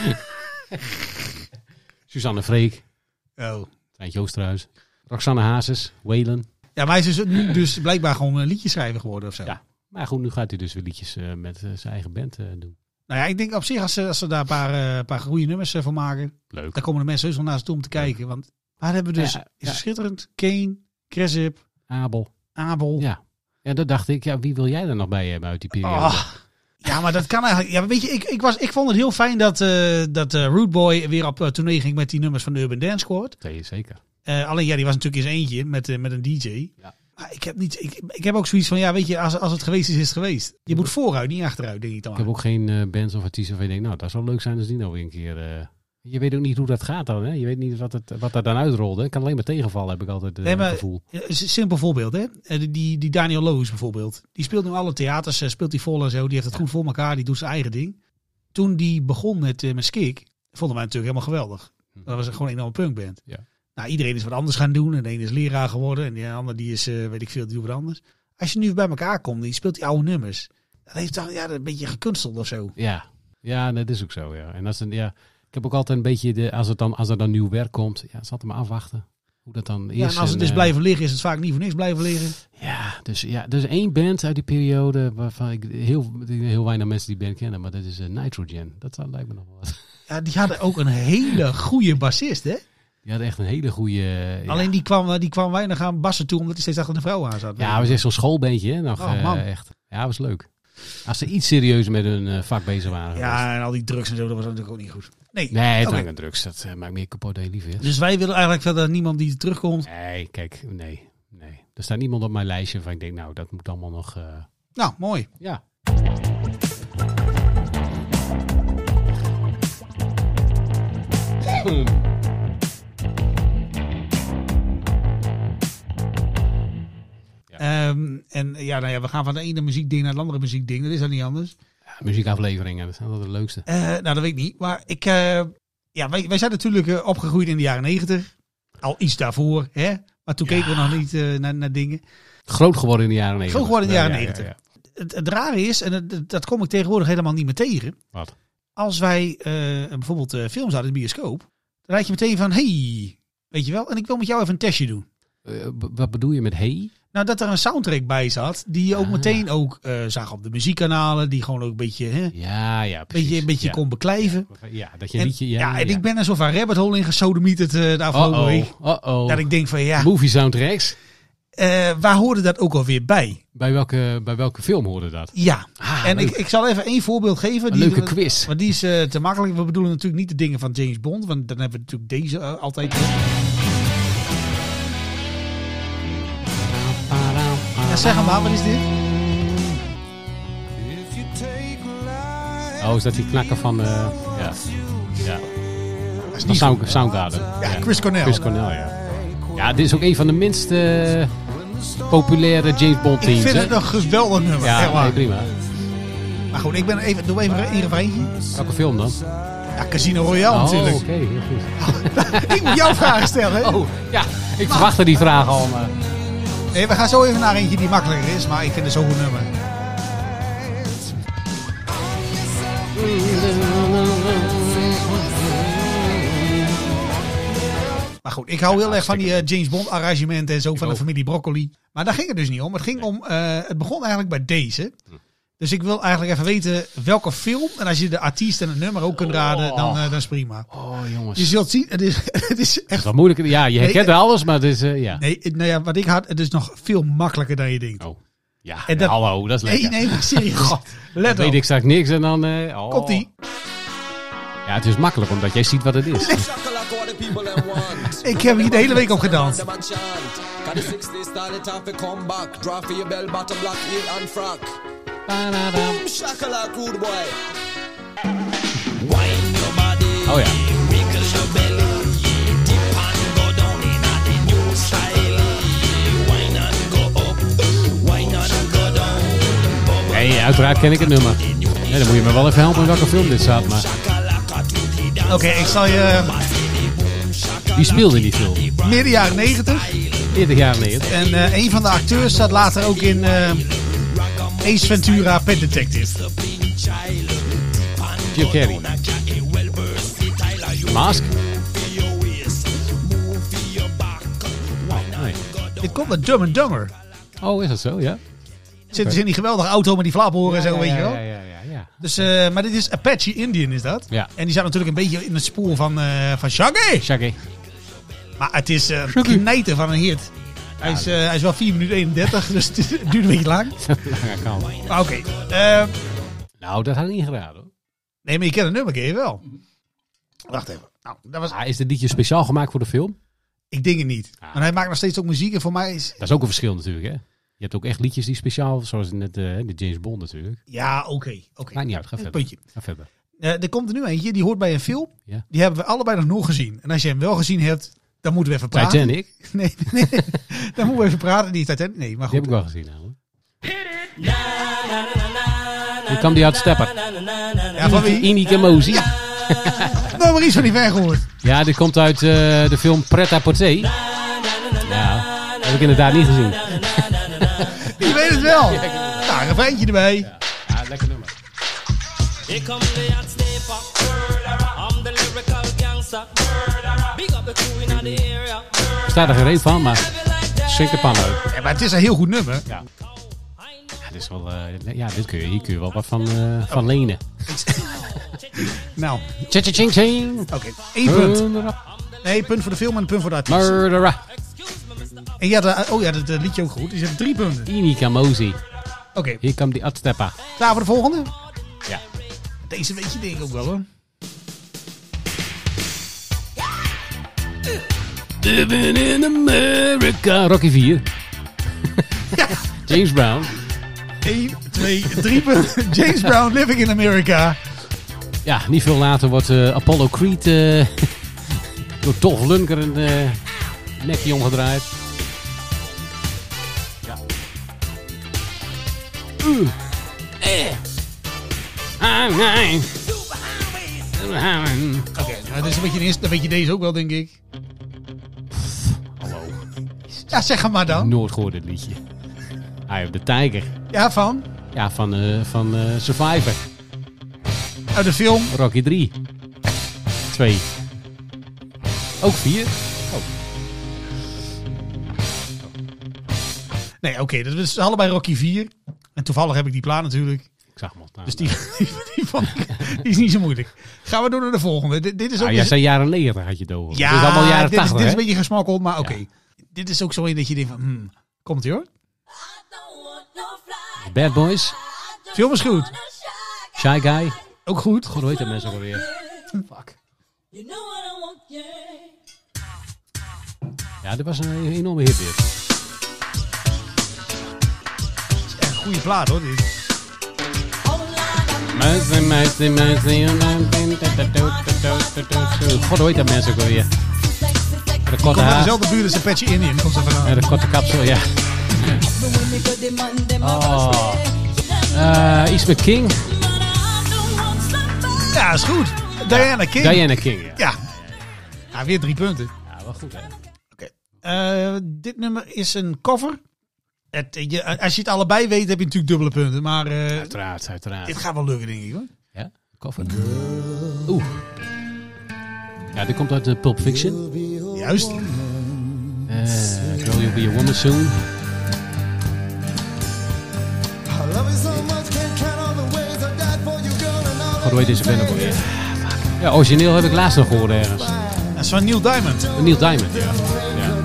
[SPEAKER 1] Suzanne Freek,
[SPEAKER 6] Oh.
[SPEAKER 1] Treintje Joosterhuis, Roxanne Hazes, Whalen.
[SPEAKER 6] Ja, maar hij is dus, nu dus blijkbaar gewoon een liedjeschrijver geworden of zo.
[SPEAKER 1] Ja. Maar goed, nu gaat hij dus weer liedjes eh, met eh, zijn eigen band eh, doen.
[SPEAKER 6] Nou ja, ik denk op zich, als ze, als ze daar een paar, eh, paar goede nummers eh, van maken,
[SPEAKER 1] Leuk.
[SPEAKER 6] dan komen de mensen heus wel naar ze toe om te kijken. Want waar hebben we dus,
[SPEAKER 1] Ja,
[SPEAKER 6] is
[SPEAKER 1] ja.
[SPEAKER 6] schitterend, Kane, Cresip,
[SPEAKER 1] Abel.
[SPEAKER 6] Abel.
[SPEAKER 1] Ja. Ja, dat dacht ik. Ja, wie wil jij er nog bij hebben uit die periode?
[SPEAKER 6] Ah. ja, maar dat kan eigenlijk. Ja, maar weet je, ik, ik, was, ik vond het heel fijn dat, eh dat eh Root Boy weer op eh, tournee ging met die nummers van de Urban Dance Squad.
[SPEAKER 1] Nee, zeker.
[SPEAKER 6] Eh, alleen ja, die was natuurlijk eens eentje met, eh, met een DJ.
[SPEAKER 1] Ja.
[SPEAKER 6] Maar ik heb, niet, ik, ik heb ook zoiets van, ja, weet je, als, als het geweest is, is het geweest. Je moet vooruit, niet achteruit, denk ik dan.
[SPEAKER 1] Ik heb ook geen eh, bands of artiesten waarvan je denkt, nou, dat zou leuk zijn als die nou weer een keer... eh, je weet ook niet hoe dat gaat dan, hè? Je weet niet wat, het, wat er dan uitrolde. Het kan alleen maar tegenvallen, heb ik altijd eh,
[SPEAKER 6] Nee, maar-
[SPEAKER 1] het gevoel.
[SPEAKER 6] Ja, een simpel voorbeeld, hè? Eh, die- Die, die Daniel Loos bijvoorbeeld. Die speelt nu alle theaters, eh, speelt die vol en zo. Die heeft het goed voor elkaar, die doet zijn eigen ding. Toen die begon met, eh, met Skik, vonden wij natuurlijk helemaal geweldig. Dat was gewoon een enorme punkband.
[SPEAKER 1] Ja.
[SPEAKER 6] Nou, iedereen is wat anders gaan doen. En de ene is leraar geworden en de ander die is, eh, weet ik veel, die doet wat anders. Als je nu bij elkaar komt, die speelt die oude nummers. Dat heeft toch ja, een beetje gekunsteld of zo.
[SPEAKER 1] Ja. Ja, dat is ook zo, ja. En als een, ja, ik heb ook altijd een beetje, de, als, het dan, als er dan nieuw werk komt, ja, het is altijd maar afwachten. Hoe dat dan is.
[SPEAKER 6] Ja, en als het
[SPEAKER 1] is
[SPEAKER 6] is blijven liggen, is het vaak niet voor niks blijven liggen.
[SPEAKER 1] Ja, dus ja, er is één band uit die periode waarvan ik heel, heel weinig mensen die band kennen, maar dat is eh, Nitrogen. Dat zou- lijkt me nog wel wat. [LAUGHS]
[SPEAKER 6] Ja, die hadden ook een hele goede bassist, hè?
[SPEAKER 1] Die had echt een hele goede... ja.
[SPEAKER 6] Alleen die kwam, eh, die kwam weinig aan bassen toe, omdat hij steeds achter de vrouw aan zat.
[SPEAKER 1] Ja, het was echt zo'n schoolbeentje. Hè? Nog,
[SPEAKER 6] Oh,
[SPEAKER 1] eh,
[SPEAKER 6] man.
[SPEAKER 1] echt. Ja, was leuk. Als ze iets serieuzer met hun eh, vak bezig waren. geweest.
[SPEAKER 6] ja, en al die drugs en zo, dat was natuurlijk ook niet goed. Nee,
[SPEAKER 1] Nee, het
[SPEAKER 6] Oké.
[SPEAKER 1] hangt aan drugs. Dat eh, maakt meer kapot dan je lief is.
[SPEAKER 6] Dus wij willen eigenlijk verder niemand die terugkomt.
[SPEAKER 1] Nee, kijk, nee, nee. Er staat niemand op mijn lijstje van ik denk, nou, dat moet allemaal nog... eh,
[SPEAKER 6] Nou, mooi.
[SPEAKER 1] ja.
[SPEAKER 6] Ehm, en ja, nou ja, we gaan van het ene muziekding naar het andere muziekding. Dat is dat niet anders.
[SPEAKER 1] ja, muziekafleveringen, dat is altijd het leukste.
[SPEAKER 6] Eh, nou, dat weet ik niet. Maar ik, eh, ja, wij, wij zijn natuurlijk eh, opgegroeid in de jaren negentig. Al iets daarvoor, hè? Maar toen keken we nog niet eh, naar, naar dingen.
[SPEAKER 1] Groot geworden in de jaren 90.
[SPEAKER 6] Groot geworden in de
[SPEAKER 1] Ja,
[SPEAKER 6] jaren
[SPEAKER 1] ja, ja,
[SPEAKER 6] 90.
[SPEAKER 1] ja.
[SPEAKER 6] Het, het rare is, en het- dat kom ik tegenwoordig helemaal niet meer tegen.
[SPEAKER 1] Wat?
[SPEAKER 6] Als wij eh, bijvoorbeeld eh, films uit de bioscoop, dan raad je meteen van, hey, weet je wel, en ik wil met jou even een testje doen.
[SPEAKER 1] Eh, b- wat bedoel je met hey?
[SPEAKER 6] Nou, dat er een soundtrack bij zat, die je ook
[SPEAKER 1] Ah.
[SPEAKER 6] meteen ook eh, zag op de muziekkanalen, die gewoon ook een beetje, hè, een
[SPEAKER 1] Ja, ja, precies.
[SPEAKER 6] beetje, een beetje
[SPEAKER 1] ja.
[SPEAKER 6] kon beklijven.
[SPEAKER 1] Ja, dat je
[SPEAKER 6] en,
[SPEAKER 1] liedje...
[SPEAKER 6] ja, en
[SPEAKER 1] ja. Oh,
[SPEAKER 6] ik ben er zo van rabbit hole in gesodemieterd eh de afgelopen
[SPEAKER 1] Oh-oh,
[SPEAKER 6] week.
[SPEAKER 1] oh-oh.
[SPEAKER 6] Dat ik denk van, ja,
[SPEAKER 1] Movie soundtracks.
[SPEAKER 6] eh, waar hoorde dat ook alweer bij?
[SPEAKER 1] Bij welke, bij welke film hoorde dat?
[SPEAKER 6] Ja,
[SPEAKER 1] Ah,
[SPEAKER 6] en ik,
[SPEAKER 1] leuk.
[SPEAKER 6] ik zal even één voorbeeld geven.
[SPEAKER 1] Een leuke
[SPEAKER 6] want-
[SPEAKER 1] quiz.
[SPEAKER 6] Want die is eh, te makkelijk. We bedoelen natuurlijk niet de dingen van James Bond, want dan hebben we natuurlijk deze eh, altijd. Ja, zeg hem maar, wat is dit?
[SPEAKER 1] Oh, is dat die knakker van... eh, ja. Ja.
[SPEAKER 6] Dat is
[SPEAKER 1] Van
[SPEAKER 6] niet
[SPEAKER 1] Sound, Soundgarden.
[SPEAKER 6] Ja, Chris Cornell.
[SPEAKER 1] Chris Cornell, ja. Ja, dit is ook een van de minst eh, populaire James Bond
[SPEAKER 6] ik
[SPEAKER 1] teams.
[SPEAKER 6] vind
[SPEAKER 1] hè?
[SPEAKER 6] het een geweldig nummer. echt
[SPEAKER 1] Ja,
[SPEAKER 6] waar.
[SPEAKER 1] nee, prima.
[SPEAKER 6] Maar goed, ik ben even, doe even een refreintje.
[SPEAKER 1] Welke film dan?
[SPEAKER 6] Ja, Casino Royale
[SPEAKER 1] oh,
[SPEAKER 6] natuurlijk.
[SPEAKER 1] oké, heel goed.
[SPEAKER 6] Ik moet jou vragen stellen. hè?
[SPEAKER 1] Oh, ja, ik verwachtte die vraag al. Maar...
[SPEAKER 6] Nee, we gaan zo even naar eentje die makkelijker is, maar ik vind het zo'n goed nummer. Maar goed, ik hou heel erg van die eh, James Bond arrangementen en zo van de
[SPEAKER 1] ook.
[SPEAKER 6] familie Broccoli. Maar daar ging het dus niet om. Het ging om, eh, het begon eigenlijk bij deze.
[SPEAKER 1] Hm.
[SPEAKER 6] Dus ik wil eigenlijk even weten welke film. En als je de artiest en het nummer ook kunt raden, dan, eh, dat is prima.
[SPEAKER 1] Oh, jongens.
[SPEAKER 6] Je zult zien, het is, [LAUGHS] het is echt...
[SPEAKER 1] Wat moeilijk. Ja, je herkent
[SPEAKER 6] Nee,
[SPEAKER 1] alles, maar het is... eh, ja.
[SPEAKER 6] Nee, het- nou ja, wat ik had, het is nog veel makkelijker dan je denkt.
[SPEAKER 1] Oh. Ja,
[SPEAKER 6] En dat-
[SPEAKER 1] hallo, dat is lekker.
[SPEAKER 6] Nee, nee, maar serieus.
[SPEAKER 1] Dan
[SPEAKER 6] Let op.
[SPEAKER 1] weet ik straks niks en dan... eh, oh.
[SPEAKER 6] Komt-ie.
[SPEAKER 1] Ja, het is makkelijk, omdat jij ziet wat het is.
[SPEAKER 6] Ik heb hier de hele week op gedanst.
[SPEAKER 1] Oh ja. Nee, uiteraard ken ik het nummer. Nee, dan moet je me wel even helpen in welke film dit staat. Maar
[SPEAKER 6] Oké, ik zal je eh,
[SPEAKER 1] wie speelde die film?
[SPEAKER 6] midden jaren 90.
[SPEAKER 1] 40 jaar neer.
[SPEAKER 6] En eh, een van de acteurs zat later ook in eh, Ace Ventura Pet Detective.
[SPEAKER 1] Jim Carrey. Mask? Nee.
[SPEAKER 6] Dit komt met Dumb and Dumber.
[SPEAKER 1] Oh, is dat zo? Ja.
[SPEAKER 6] Zit dus in die geweldige auto met die flaphoren en zo, weet je wel.
[SPEAKER 1] Ja, ja, ja. ja.
[SPEAKER 6] Dus, eh, maar dit is Apache Indian, is dat?
[SPEAKER 1] Ja.
[SPEAKER 6] En die zat natuurlijk een beetje in het spoor van, eh van Shaggy.
[SPEAKER 1] Shaggy. [LAUGHS]
[SPEAKER 6] Maar het is eh knijten van een hit. Hij is, eh, hij is wel 4 minuten 31, dus het is- het duurt een beetje lang.
[SPEAKER 1] Lange kant.
[SPEAKER 6] Maar oké. eh,
[SPEAKER 1] Nou, dat had ik niet geraden. hoor.
[SPEAKER 6] nee, maar je kent het nummer, ken je wel. Wacht even. Mhm. Nou, dat was,
[SPEAKER 1] Ah, is dit liedje speciaal gemaakt voor de film?
[SPEAKER 6] ik denk het niet. En hij maakt nog steeds ook muziek en voor mij is...
[SPEAKER 1] Dat is ook een verschil natuurlijk, hè? Je hebt ook echt liedjes die speciaal, zoals net eh, de James Bond natuurlijk.
[SPEAKER 6] Ja, oké. oké.
[SPEAKER 1] Maakt niet uit, ga
[SPEAKER 6] Een
[SPEAKER 1] verder.
[SPEAKER 6] puntje.
[SPEAKER 1] Ga verder.
[SPEAKER 6] Eh, er komt er nu eentje, die hoort bij een film.
[SPEAKER 1] Ja.
[SPEAKER 6] Die hebben we allebei nog nooit gezien. En als je hem wel gezien hebt, dan moeten we even praten.
[SPEAKER 1] Titanic, die
[SPEAKER 6] [LAUGHS] Nee, nee, nee. dan moeten we even praten. Die Titanic, nee, maar
[SPEAKER 1] heb
[SPEAKER 6] goed.
[SPEAKER 1] ik wel gezien namelijk. Hoe kwam die uit Stepper?
[SPEAKER 6] Ja, van wie?
[SPEAKER 1] Indica Mozi.
[SPEAKER 6] Nou, maar iets van die weg gehoord.
[SPEAKER 1] Ja, dit komt uit eh, de film Pret à Poté. Ja, heb ik inderdaad niet gezien.
[SPEAKER 6] Je weet het wel. Nou, een refreintje erbij.
[SPEAKER 1] Ja, lekker nummer.
[SPEAKER 8] Here come the hot sniper. I'm the lyrical gangster. Big up the crew in the area.
[SPEAKER 1] Er staat er geen reet van, maar schrik de pan uit.
[SPEAKER 6] Ja, maar het is een heel goed nummer.
[SPEAKER 1] Ja, dit, is wel, eh, ja, dit kun je, hier kun je wel wat van, eh, van lenen.
[SPEAKER 6] Nou,
[SPEAKER 1] Tja-tja-ching, ching.
[SPEAKER 6] oké. Eén punt. Nee, punt voor de film en een punt voor de artiest.
[SPEAKER 1] Murderer.
[SPEAKER 6] En ja, de, oh ja, dat eh, liedje ook goed. Dus je hebt drie punten.
[SPEAKER 1] Inika Mozi.
[SPEAKER 6] Oké,
[SPEAKER 1] Hier komt die atsteppa.
[SPEAKER 6] klaar voor de volgende?
[SPEAKER 1] Ja.
[SPEAKER 6] Deze weet je denk ik ook wel hoor.
[SPEAKER 1] Living in America. Rocky 4. [LAUGHS] James Brown.
[SPEAKER 6] 1, 2, 3 punten. [LAUGHS] James Brown, Living in America.
[SPEAKER 1] Ja, niet veel later wordt eh, Apollo Creed eh, [LAUGHS] door Dolph Lundgren eh nekje omgedraaid. Ja. Oeh. Eh. Ah, nee. Ah, nee.
[SPEAKER 6] Oké, nou, dat is een beetje een eerste. Dan weet je deze ook wel, denk ik.
[SPEAKER 1] Hallo.
[SPEAKER 6] Ja, zeg hem maar dan.
[SPEAKER 1] Nooit gehoord dit liedje. Eye of the Tiger.
[SPEAKER 6] Ja, van?
[SPEAKER 1] Ja, van, eh, van eh, Survivor.
[SPEAKER 6] Uit de film.
[SPEAKER 1] Rocky 3. 2. Ook 4.
[SPEAKER 6] Nee, oké, dat is allebei Rocky 4. En toevallig heb ik die plaat natuurlijk.
[SPEAKER 1] Ik zag hem al staan.
[SPEAKER 6] Dus die, [LAUGHS] die, die, vond ik- die is niet zo moeilijk. Gaan we door naar de volgende. Dit, dit is ook
[SPEAKER 1] Ah, jij zei jaren 90 had je het over.
[SPEAKER 6] Ja,
[SPEAKER 1] dit is allemaal jaren
[SPEAKER 6] dit, is,
[SPEAKER 1] 80,
[SPEAKER 6] dit is een
[SPEAKER 1] hè?
[SPEAKER 6] beetje gesmokkeld, maar oké. Dit is ook zo een dat je denkt van, hmm, komt ie hoor.
[SPEAKER 1] Bad Boys,
[SPEAKER 6] Film is goed.
[SPEAKER 1] Shy Guy.
[SPEAKER 6] Ook goed.
[SPEAKER 1] God, hoe heet dat mensen ook alweer?
[SPEAKER 6] Fuck.
[SPEAKER 7] You know what I want, yeah.
[SPEAKER 1] Ja, dit was een enorme hit weer.
[SPEAKER 6] Is echt een goede plaat hoor. Dit.
[SPEAKER 1] Meisje, meisje, meisje. God, hoe heet dat mensen ook alweer? Met De korte
[SPEAKER 6] Komt uit
[SPEAKER 1] haar
[SPEAKER 6] dezelfde buurt als Apache Indian. Komt ze vandaan.
[SPEAKER 1] en de korte kapsel, ja.
[SPEAKER 6] Ah.
[SPEAKER 1] Oh. Eh, iets met King.
[SPEAKER 6] Ja, is goed. Diana King.
[SPEAKER 1] Diana King, ja.
[SPEAKER 6] Ja. ja. Weer drie punten.
[SPEAKER 1] Ja, wel goed, hè?
[SPEAKER 6] Eh, dit nummer is een cover. Het, je, als je het allebei weet, heb je natuurlijk dubbele punten. Maar eh,
[SPEAKER 1] Uiteraard,
[SPEAKER 6] dit
[SPEAKER 1] uiteraard.
[SPEAKER 6] gaat wel lukken, denk ik hoor.
[SPEAKER 1] Ja, koffer. Oeh. Ja, dit komt uit de Pulp Fiction.
[SPEAKER 6] Juist.
[SPEAKER 1] Eh, Girl, you'll be a woman soon. God, hoe heet deze band ook alweer? Ja, origineel heb ik laatst nog gehoord ergens.
[SPEAKER 6] Dat is van Neil Diamond.
[SPEAKER 1] Neil Diamond, ja. ja.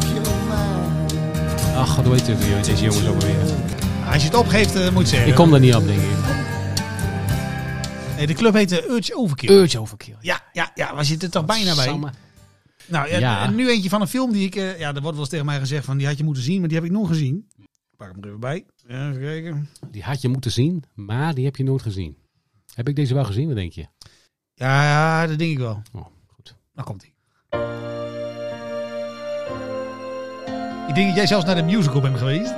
[SPEAKER 1] Ach, god, hoe heet het weer? deze jongens ook alweer?
[SPEAKER 6] Als je het opgeeft, eh, moet je zeggen.
[SPEAKER 1] Ik kom er niet op, denk ik.
[SPEAKER 6] Nee, de club heette Urge Overkill.
[SPEAKER 1] Urge Overkill.
[SPEAKER 6] Ja, ja, ja, we zitten er toch bijna bij.
[SPEAKER 1] Samme.
[SPEAKER 6] Nou, ja,
[SPEAKER 1] Ja.
[SPEAKER 6] en nu eentje van een film die ik... eh, ja, er wordt wel eens tegen mij gezegd van die had je moeten zien, maar die heb ik nog gezien. Ik Pak hem er even bij. Even kijken.
[SPEAKER 1] Die had je moeten zien, maar die heb je nooit gezien. Heb ik deze wel gezien, wat denk je?
[SPEAKER 6] Ja, ja, dat denk ik wel.
[SPEAKER 1] Oh, goed.
[SPEAKER 6] Nou komt hij. Ik denk dat jij zelfs naar de musical bent geweest.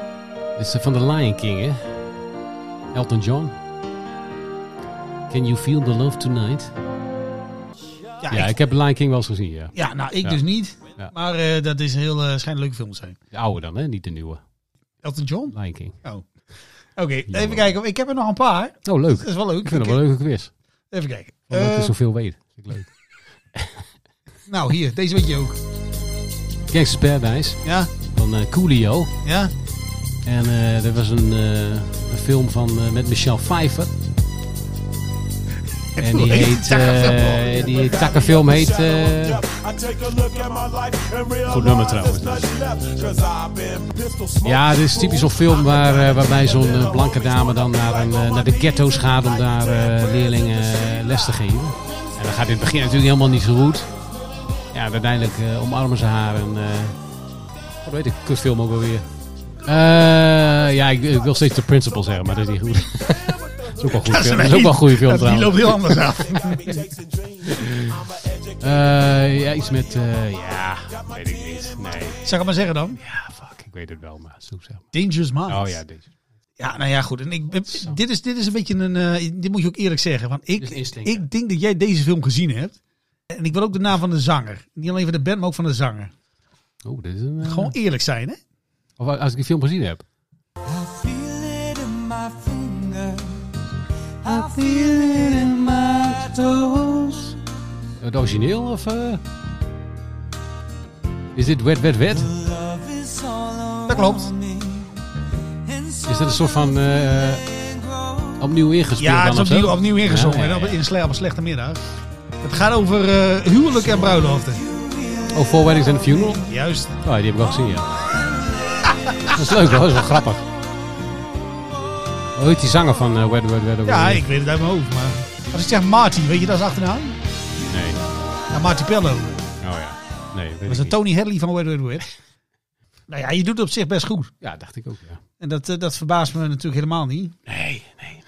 [SPEAKER 1] Dit is eh, van The Lion King, hè? Elton John. Can you feel the love tonight?
[SPEAKER 6] Ja,
[SPEAKER 1] Ja,
[SPEAKER 6] ik,
[SPEAKER 1] ik heb The Lion King wel eens gezien, ja.
[SPEAKER 6] ja nou ik
[SPEAKER 1] Ja.
[SPEAKER 6] dus niet.
[SPEAKER 1] Ja.
[SPEAKER 6] Maar eh, dat is een heel eh, schijnt een leuke film te zijn.
[SPEAKER 1] De oude dan, hè? Niet de nieuwe.
[SPEAKER 6] Elton John?
[SPEAKER 1] Lion King.
[SPEAKER 6] Oh. Oké, even kijken. Ik heb er nog een paar.
[SPEAKER 1] Oh, leuk.
[SPEAKER 6] Dat is wel leuk.
[SPEAKER 1] Ik vind het wel een leuke quiz.
[SPEAKER 6] Even kijken.
[SPEAKER 1] Omdat
[SPEAKER 6] Eh,
[SPEAKER 1] je zoveel weet. Vind ik
[SPEAKER 6] [LAUGHS]
[SPEAKER 1] leuk.
[SPEAKER 6] nou, hier. Deze weet je ook.
[SPEAKER 1] Gangsters Paradise
[SPEAKER 6] Ja?
[SPEAKER 1] van eh, Coolio.
[SPEAKER 6] Ja?
[SPEAKER 1] En eh dat was een, eh, een film van, eh, met Michelle Pfeiffer. En die [LAUGHS] heet... eh,
[SPEAKER 6] [LAUGHS]
[SPEAKER 1] die takkenfilm heet... eh,
[SPEAKER 9] Goed
[SPEAKER 1] nummer trouwens. dus. Ja, dit is typisch zo'n film waar, eh, waarbij zo'n eh, blanke dame dan naar, een, eh, naar de ghetto's gaat om daar eh, leerlingen eh, les te geven. En dan gaat in het begin natuurlijk helemaal niet zo goed. Ja, en uiteindelijk eh, omarmen ze haar en... eh wat weet ik, kutfilm ook alweer. Eh ja, ik, ik wil steeds de principal zeggen, maar dat is niet goed. [LAUGHS] dat is ook wel een goede film, dat is ook wel een goede film
[SPEAKER 6] Die
[SPEAKER 1] trouwens.
[SPEAKER 6] loopt heel anders af.
[SPEAKER 1] Eh, ja, iets met... eh, ja, weet ik niet. Nee.
[SPEAKER 6] Zeg het maar zeggen dan.
[SPEAKER 1] Ja, fuck, ik weet het wel, maar zo zeg maar.
[SPEAKER 6] Dangerous Minds.
[SPEAKER 1] Oh ja, deze.
[SPEAKER 6] Ja, nou ja, goed. En ik, dit, is, dit is een beetje een... eh, dit moet je ook eerlijk zeggen. Want ik,
[SPEAKER 1] Dit is instinct,
[SPEAKER 6] ik denk dat jij deze film gezien hebt. En ik wil ook de naam van de zanger. Niet alleen van de band, maar ook van de zanger.
[SPEAKER 1] Oeh, dit is een... eh,
[SPEAKER 6] Gewoon eerlijk zijn, hè?
[SPEAKER 1] Of als ik die film gezien heb. Het origineel of... eh? Is dit wet, wet, wet?
[SPEAKER 6] Dat klopt.
[SPEAKER 1] Is dat een soort van eh, Opnieuw ingespeeld
[SPEAKER 6] Ja,
[SPEAKER 1] dan
[SPEAKER 6] het is
[SPEAKER 1] of zo?
[SPEAKER 6] opnieuw, opnieuw ingezongen.
[SPEAKER 1] Ja, ja,
[SPEAKER 6] Op,
[SPEAKER 1] ja.
[SPEAKER 6] in een sle- op een slechte middag. Het gaat over eh, huwelijk en bruiloften.
[SPEAKER 1] Oh, Four Weddings and a Funeral?
[SPEAKER 6] Juist.
[SPEAKER 1] Oh, die heb ik al gezien, ja. dat is leuk hoor, dat is wel grappig. Hoe heet die zanger van eh Wed, Wed, Wed, Wed?
[SPEAKER 6] Ja, ik weet het uit mijn hoofd. Maar als ik zeg Marty, weet je dat is achternaam?
[SPEAKER 1] Nee.
[SPEAKER 6] Ja, Marty Pello.
[SPEAKER 1] Oh ja. Nee, weet
[SPEAKER 6] Dat
[SPEAKER 1] ik
[SPEAKER 6] is een
[SPEAKER 1] niet.
[SPEAKER 6] Tony Hadley van Wed Wed Wed. Nou ja, je doet het op zich best goed.
[SPEAKER 1] Ja, dacht ik ook, ja.
[SPEAKER 6] En dat, eh, dat verbaast me natuurlijk helemaal niet.
[SPEAKER 1] Nee, nee,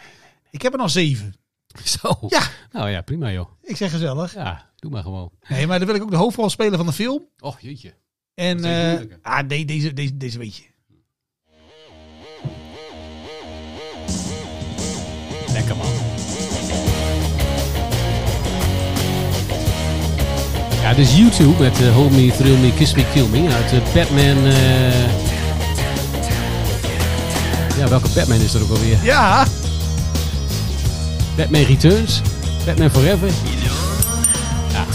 [SPEAKER 6] Ik heb er nog zeven.
[SPEAKER 1] nee. Zo.
[SPEAKER 6] Ja.
[SPEAKER 1] Nou ja, prima joh.
[SPEAKER 6] Ik zeg gezellig.
[SPEAKER 1] Ja, doe maar gewoon.
[SPEAKER 6] Nee, maar dan wil ik ook de hoofdrol spelen van de film.
[SPEAKER 1] Och, jeetje.
[SPEAKER 6] En
[SPEAKER 1] Dat is een
[SPEAKER 6] eh,
[SPEAKER 1] moeilijke.
[SPEAKER 6] ah, nee, deze, deze, deze weet je.
[SPEAKER 1] Lekker man. Ja, dit is YouTube met eh, Hold Me, Thrill Me, Kiss Me, Kill Me uit eh, Batman. eh, Ja, welke Batman is er ook alweer?
[SPEAKER 6] Ja,
[SPEAKER 1] Batman Returns, Batman Forever. Ja.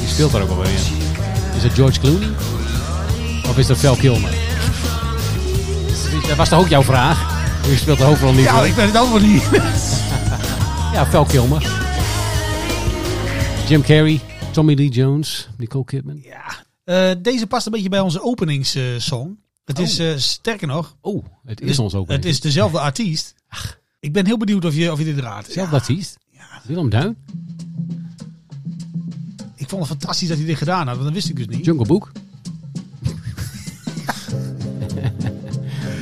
[SPEAKER 1] Die speelt daar ook alweer in. Is dat George Clooney? Of is dat Val Kilmer? Dat was toch ook jouw vraag? Je speelt de hoofdrol niet.
[SPEAKER 6] ja ik ben het antwoord niet.
[SPEAKER 1] Ja, Val Kilmer. Jim Carrey, Tommy Lee Jones, Nicole Kidman.
[SPEAKER 6] [LAUGHS] ja. Eh, deze past een beetje bij onze openingssong. het is eh, sterker nog,
[SPEAKER 1] Oh, het
[SPEAKER 6] het-
[SPEAKER 1] is ons ook.
[SPEAKER 6] het is dezelfde artiest. Ik ben heel benieuwd of je, of je dit raadt.
[SPEAKER 1] zelf artiest. Willem Duin,
[SPEAKER 6] Ik vond het fantastisch dat hij dit gedaan had, want dat wist ik dus niet.
[SPEAKER 1] Jungle Book.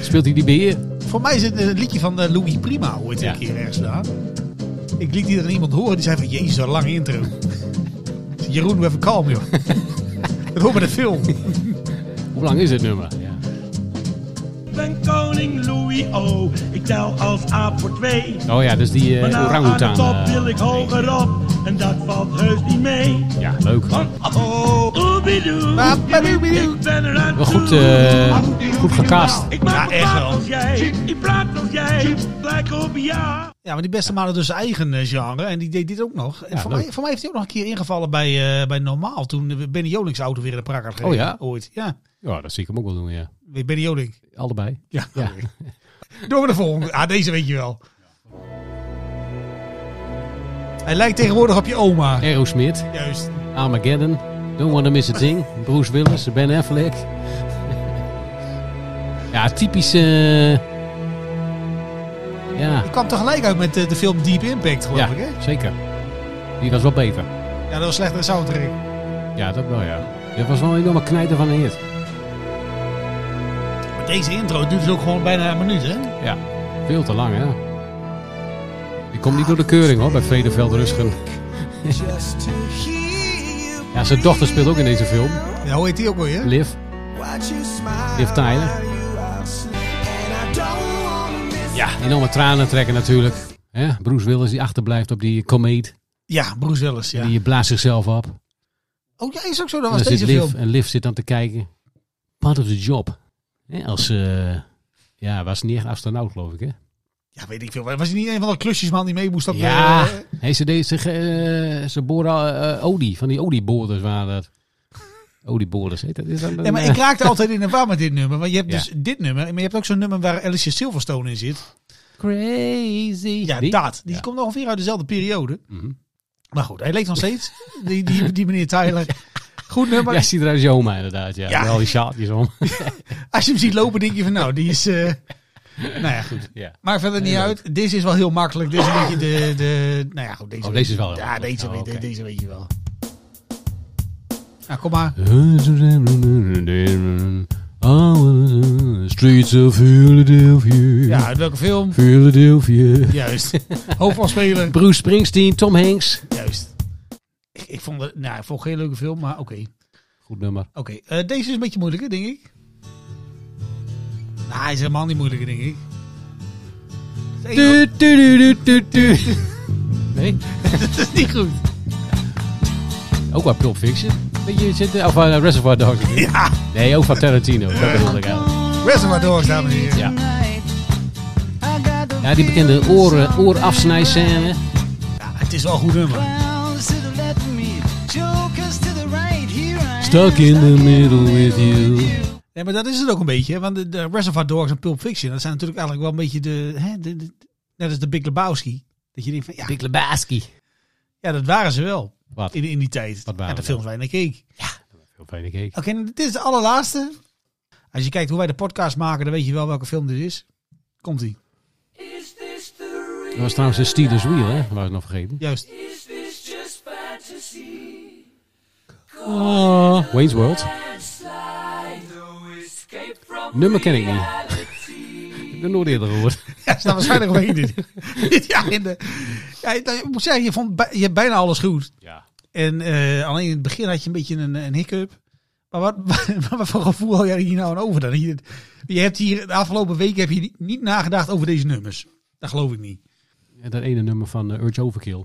[SPEAKER 1] Speelt hij die beheer?
[SPEAKER 6] Voor mij is het een liedje van eh, Louis Prima ooit
[SPEAKER 1] Ja.
[SPEAKER 6] een keer ergens gedaan. Ik liet hier aan iemand horen die zei van, jezus, wat een lange intro. [LAUGHS] Ik zei, Jeroen, we even kalm, joh. [LAUGHS] Het hoort bij de film.
[SPEAKER 1] Hoe lang is dit nummer? Ja.
[SPEAKER 9] ben koning Louis O. Ik tel als aap voor twee.
[SPEAKER 1] Oh ja, dus die
[SPEAKER 9] Maar
[SPEAKER 1] eh
[SPEAKER 9] nou aan de
[SPEAKER 1] orangutan.
[SPEAKER 9] top
[SPEAKER 1] eh,
[SPEAKER 9] wil ik hoger op. En dat valt heus niet mee.
[SPEAKER 1] ja, leuk.
[SPEAKER 9] Want oh, oebidoe. Ik ben er aan
[SPEAKER 1] Wel
[SPEAKER 9] toe.
[SPEAKER 1] goed, eh, goed gecast.
[SPEAKER 9] Ik maak
[SPEAKER 6] Ja,
[SPEAKER 9] me
[SPEAKER 6] echt
[SPEAKER 9] kwaad
[SPEAKER 6] wel.
[SPEAKER 9] als jij. Ik praat als jij. Lijk op ja.
[SPEAKER 6] Ja, maar die beste mannen dus eigen eh, genre. En die deed dit ook nog. En
[SPEAKER 1] Ja,
[SPEAKER 6] voor,
[SPEAKER 1] leuk.
[SPEAKER 6] mij, voor mij heeft hij ook nog een keer ingevallen bij, eh, bij Normaal. Toen Benny Jolings auto weer in de prak had gereden.
[SPEAKER 1] Oh ja?
[SPEAKER 6] Ooit. Ja,
[SPEAKER 1] Ja, dat zie ik hem ook wel doen, ja.
[SPEAKER 6] weer Benny Joling.
[SPEAKER 1] Allebei.
[SPEAKER 6] Ja.
[SPEAKER 1] Ja.
[SPEAKER 6] Door met de volgende. Ah, deze weet je wel. Hij lijkt tegenwoordig op je oma.
[SPEAKER 1] Aerosmith,
[SPEAKER 6] Juist.
[SPEAKER 1] Armageddon, Don't Wanna Miss a Thing, Bruce Willis, Ben Affleck. [LAUGHS] Ja, typische... eh, Ja,
[SPEAKER 6] Die kwam tegelijk uit met eh, de film Deep Impact, geloof ik, hè?
[SPEAKER 1] ja zeker. Die was wel beter.
[SPEAKER 6] Ja, dat was slechter soundtrack.
[SPEAKER 1] Ja, dat wel, ja. Dat was wel een enorme knijter van een hit.
[SPEAKER 6] Maar deze intro duurt dus ook gewoon bijna een minuut, hè?
[SPEAKER 1] Ja, veel te lang, hè. Die komt niet door de keuring, hoor, bij Vredeveld Rusgen. Ja, zijn dochter speelt ook in deze film.
[SPEAKER 6] Ja, hoe heet die ook weer?
[SPEAKER 1] Liv. Liv Tyler. Ja, enorme tranen trekken natuurlijk. hè Bruce Willis die achterblijft op die komeet.
[SPEAKER 6] Ja, Bruce Willis, ja.
[SPEAKER 1] Die blaast zichzelf op. En
[SPEAKER 6] Oh ja, is ook zo. Dat
[SPEAKER 1] dan
[SPEAKER 6] was
[SPEAKER 1] zit
[SPEAKER 6] deze
[SPEAKER 1] Liv
[SPEAKER 6] film.
[SPEAKER 1] en Liv zit dan te kijken. Part of the job. hè als, eh, ja, was niet echt astronaut geloof ik hè.
[SPEAKER 6] Ja, weet ik veel. Was hij niet een van de klusjesman die mee moest op
[SPEAKER 1] Ja,
[SPEAKER 6] eh,
[SPEAKER 1] hey, ze, deed, ze, ge- eh, ze boren al, eh, Odie. Van die Odie-boorders waren dat. Odie-boorders heet dat. Is dat een,
[SPEAKER 6] Ja, maar
[SPEAKER 1] eh,
[SPEAKER 6] ik raakte altijd in de war met dit nummer. Want je hebt
[SPEAKER 1] Ja.
[SPEAKER 6] dus dit nummer, maar je hebt ook zo'n nummer waar Alicia Silverstone in zit.
[SPEAKER 1] eh, Crazy.
[SPEAKER 6] Ja,
[SPEAKER 1] Die?
[SPEAKER 6] dat. Die
[SPEAKER 1] Ja.
[SPEAKER 6] komt ongeveer uit dezelfde periode.
[SPEAKER 1] Mhm.
[SPEAKER 6] Maar goed, hij leeft nog steeds. die, die, die meneer Tyler. Goed nummer.
[SPEAKER 1] Ja, ziet eruit als je oma inderdaad. Ja,
[SPEAKER 6] Ja.
[SPEAKER 1] wel die sjaaltjes om. [LAUGHS]
[SPEAKER 6] Als je hem ziet lopen, denk je van nou, die is... eh, nou ja, goed.
[SPEAKER 1] ja.
[SPEAKER 6] Maakt verder niet uit. Deze is wel heel makkelijk. Dit is een beetje de... de nou ja, goed. Deze,
[SPEAKER 1] Oh, deze is wel heel
[SPEAKER 6] Ja,
[SPEAKER 1] makkelijk.
[SPEAKER 6] deze,
[SPEAKER 1] Oh,
[SPEAKER 6] weet-
[SPEAKER 1] oké.
[SPEAKER 6] deze weet je wel. Nou, kom maar.
[SPEAKER 1] Streets of Philadelphia.
[SPEAKER 6] Ja, uit welke film?
[SPEAKER 1] Philadelphia.
[SPEAKER 6] Juist. Hoofdrolspeler.
[SPEAKER 1] Bruce Springsteen, Tom Hanks.
[SPEAKER 6] Juist. Ik, ik vond het... Nou, ik vond het geen leuke film, maar oké.
[SPEAKER 1] Goed nummer.
[SPEAKER 6] Oké, eh, deze is een beetje moeilijker, denk ik. Nou, hij is helemaal niet moeilijker, denk ik. Het is één-
[SPEAKER 1] Du, du, du, du, du, du. Nee, [LAUGHS]
[SPEAKER 6] Dat is niet goed.
[SPEAKER 1] ook wel Pulp Fiction. Beetje zitten, of eh, Reservoir Dogs.
[SPEAKER 6] Ja,
[SPEAKER 1] Nee, ook van Tarantino. Dat bedoelde ik eigenlijk.
[SPEAKER 6] Reservoir Dogs, dames en heren.
[SPEAKER 1] Ja. Ja, die bekende oren, oorafsnijscène.
[SPEAKER 6] Ja, het is wel een goed nummer.
[SPEAKER 1] Stuck in the middle with you.
[SPEAKER 6] Nee, maar dat is het ook een beetje. hè, Want de, de Reservoir Dogs en Pulp Fiction, dat zijn natuurlijk eigenlijk wel een beetje de... Hè, de, de- Net als de Big Lebowski. Dat je denkt van, ja,
[SPEAKER 1] Big Lebowski.
[SPEAKER 6] ja dat waren ze wel.
[SPEAKER 1] Wat?
[SPEAKER 6] In, in die tijd.
[SPEAKER 1] Wat waren
[SPEAKER 6] ja, de
[SPEAKER 1] we
[SPEAKER 6] films waar je naar keek.
[SPEAKER 1] Heel fijne cake.
[SPEAKER 6] Oké, dit is de allerlaatste. Als je kijkt hoe wij de podcast maken, dan weet je wel welke film dit is. Komt-ie.
[SPEAKER 1] Dat was trouwens de Steelers Wheel, hè? Dat was ik nog vergeten.
[SPEAKER 6] Juist.
[SPEAKER 1] Oh, Wayne's World. Nummer ken ik niet. ik heb het nooit eerder gehoord.
[SPEAKER 6] Ja, staat waarschijnlijk omheen [LAUGHS] dit. dit jaar in de... Ja, ik moet zeggen, je, vond bij- je hebt bijna alles goed.
[SPEAKER 1] Ja.
[SPEAKER 6] En eh, alleen in het begin had je een beetje een, een hiccup. Maar wat, [LAUGHS] wat, wat voor gevoel had jij hier nou aan over dan? Je, je hebt hier de afgelopen weken heb je niet- niet nagedacht over deze nummers. Dat geloof ik niet.
[SPEAKER 1] En dat ene nummer van eh, Urge Overkill.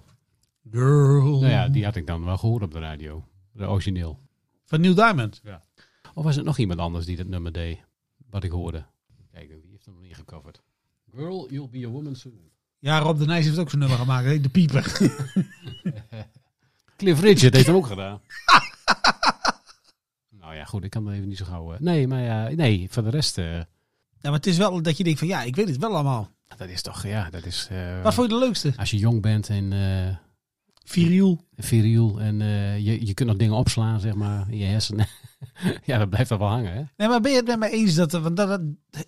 [SPEAKER 6] Girl.
[SPEAKER 1] Nou ja, die had ik dan wel gehoord op de radio. De origineel.
[SPEAKER 6] Van Neil Diamond.
[SPEAKER 1] Of was het nog iemand anders die dat nummer deed? Wat ik hoorde. Kijk, die heeft hem nog niet gecoverd. Girl, you'll be a woman soon.
[SPEAKER 6] Ja, Rob de Nijs heeft ook zo'n nummer gemaakt. hè? De Pieper. [LAUGHS]
[SPEAKER 1] Cliff Richard heeft hem ook gedaan. [LAUGHS] nou ja, goed, ik kan er even niet zo gauw... eh, nee, maar ja, nee, voor de rest... eh,
[SPEAKER 6] Ja, maar het is wel dat je denkt van ja, ik weet het wel allemaal.
[SPEAKER 1] dat is toch, ja, dat is... eh,
[SPEAKER 6] Wat vond je de leukste?
[SPEAKER 1] Als je jong bent en eh
[SPEAKER 6] Viriel.
[SPEAKER 1] viriel en eh, je, je kunt nog dingen opslaan, zeg maar, in je hersenen. [LAUGHS] ja, dat blijft dan wel hangen, hè?
[SPEAKER 6] Nee, maar ben je het met mij eens dat, want dat, dat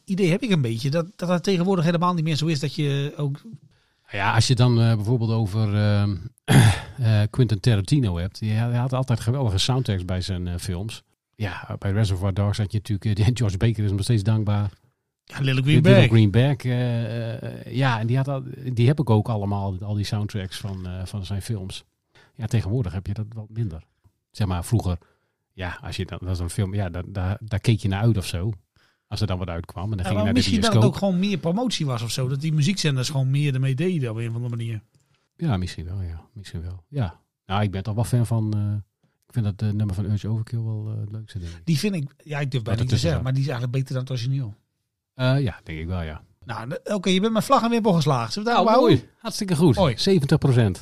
[SPEAKER 6] idee heb ik een beetje, dat, dat dat tegenwoordig helemaal niet meer zo is dat je ook...
[SPEAKER 1] Ja, als je dan eh, bijvoorbeeld over ehm, [CLEARS THROAT] eh, Quentin Tarantino hebt. Die had, hij had altijd geweldige soundtracks bij zijn eh, films. Ja, bij Reservoir Dogs had je natuurlijk... eh, [LAUGHS] die- George Baker is nog steeds dankbaar.
[SPEAKER 6] Ja, Little
[SPEAKER 1] Little Greenback. eh, eh, ja, en die, had, al- die heb ik ook allemaal, al die soundtracks van, eh, van zijn films. Ja, tegenwoordig heb je dat wat minder. Zeg maar, vroeger, ja, als je dat, dat was een film, ja, daar, daar, daar keek je naar uit of zo. Als er dan wat uitkwam. En dan ging je
[SPEAKER 6] maar
[SPEAKER 1] naar de
[SPEAKER 6] misschien dat het ook
[SPEAKER 1] bioscoop.
[SPEAKER 6] gewoon meer promotie was of zo. Dat die muziekzenders gewoon meer ermee deden op een of andere manier.
[SPEAKER 1] Ja, misschien wel, ja. Misschien wel, ja. Nou, ik ben toch wel fan van... eh, ik vind dat eh, nummer van Urge Overkill wel eh, het leukste, denk ik.
[SPEAKER 6] Die vind ik, ja ik durf
[SPEAKER 1] dat
[SPEAKER 6] bijna niet te
[SPEAKER 1] is
[SPEAKER 6] zeggen,
[SPEAKER 1] zo.
[SPEAKER 6] maar die is eigenlijk beter dan het origineel.
[SPEAKER 1] Eh, ja, denk ik wel, ja.
[SPEAKER 6] Nou, d- oké, je bent met vlag en wimpel geslaagd. Zullen we daar
[SPEAKER 1] Nou,
[SPEAKER 6] nou,
[SPEAKER 1] mooi. Hartstikke goed.
[SPEAKER 6] Mooi.
[SPEAKER 1] 70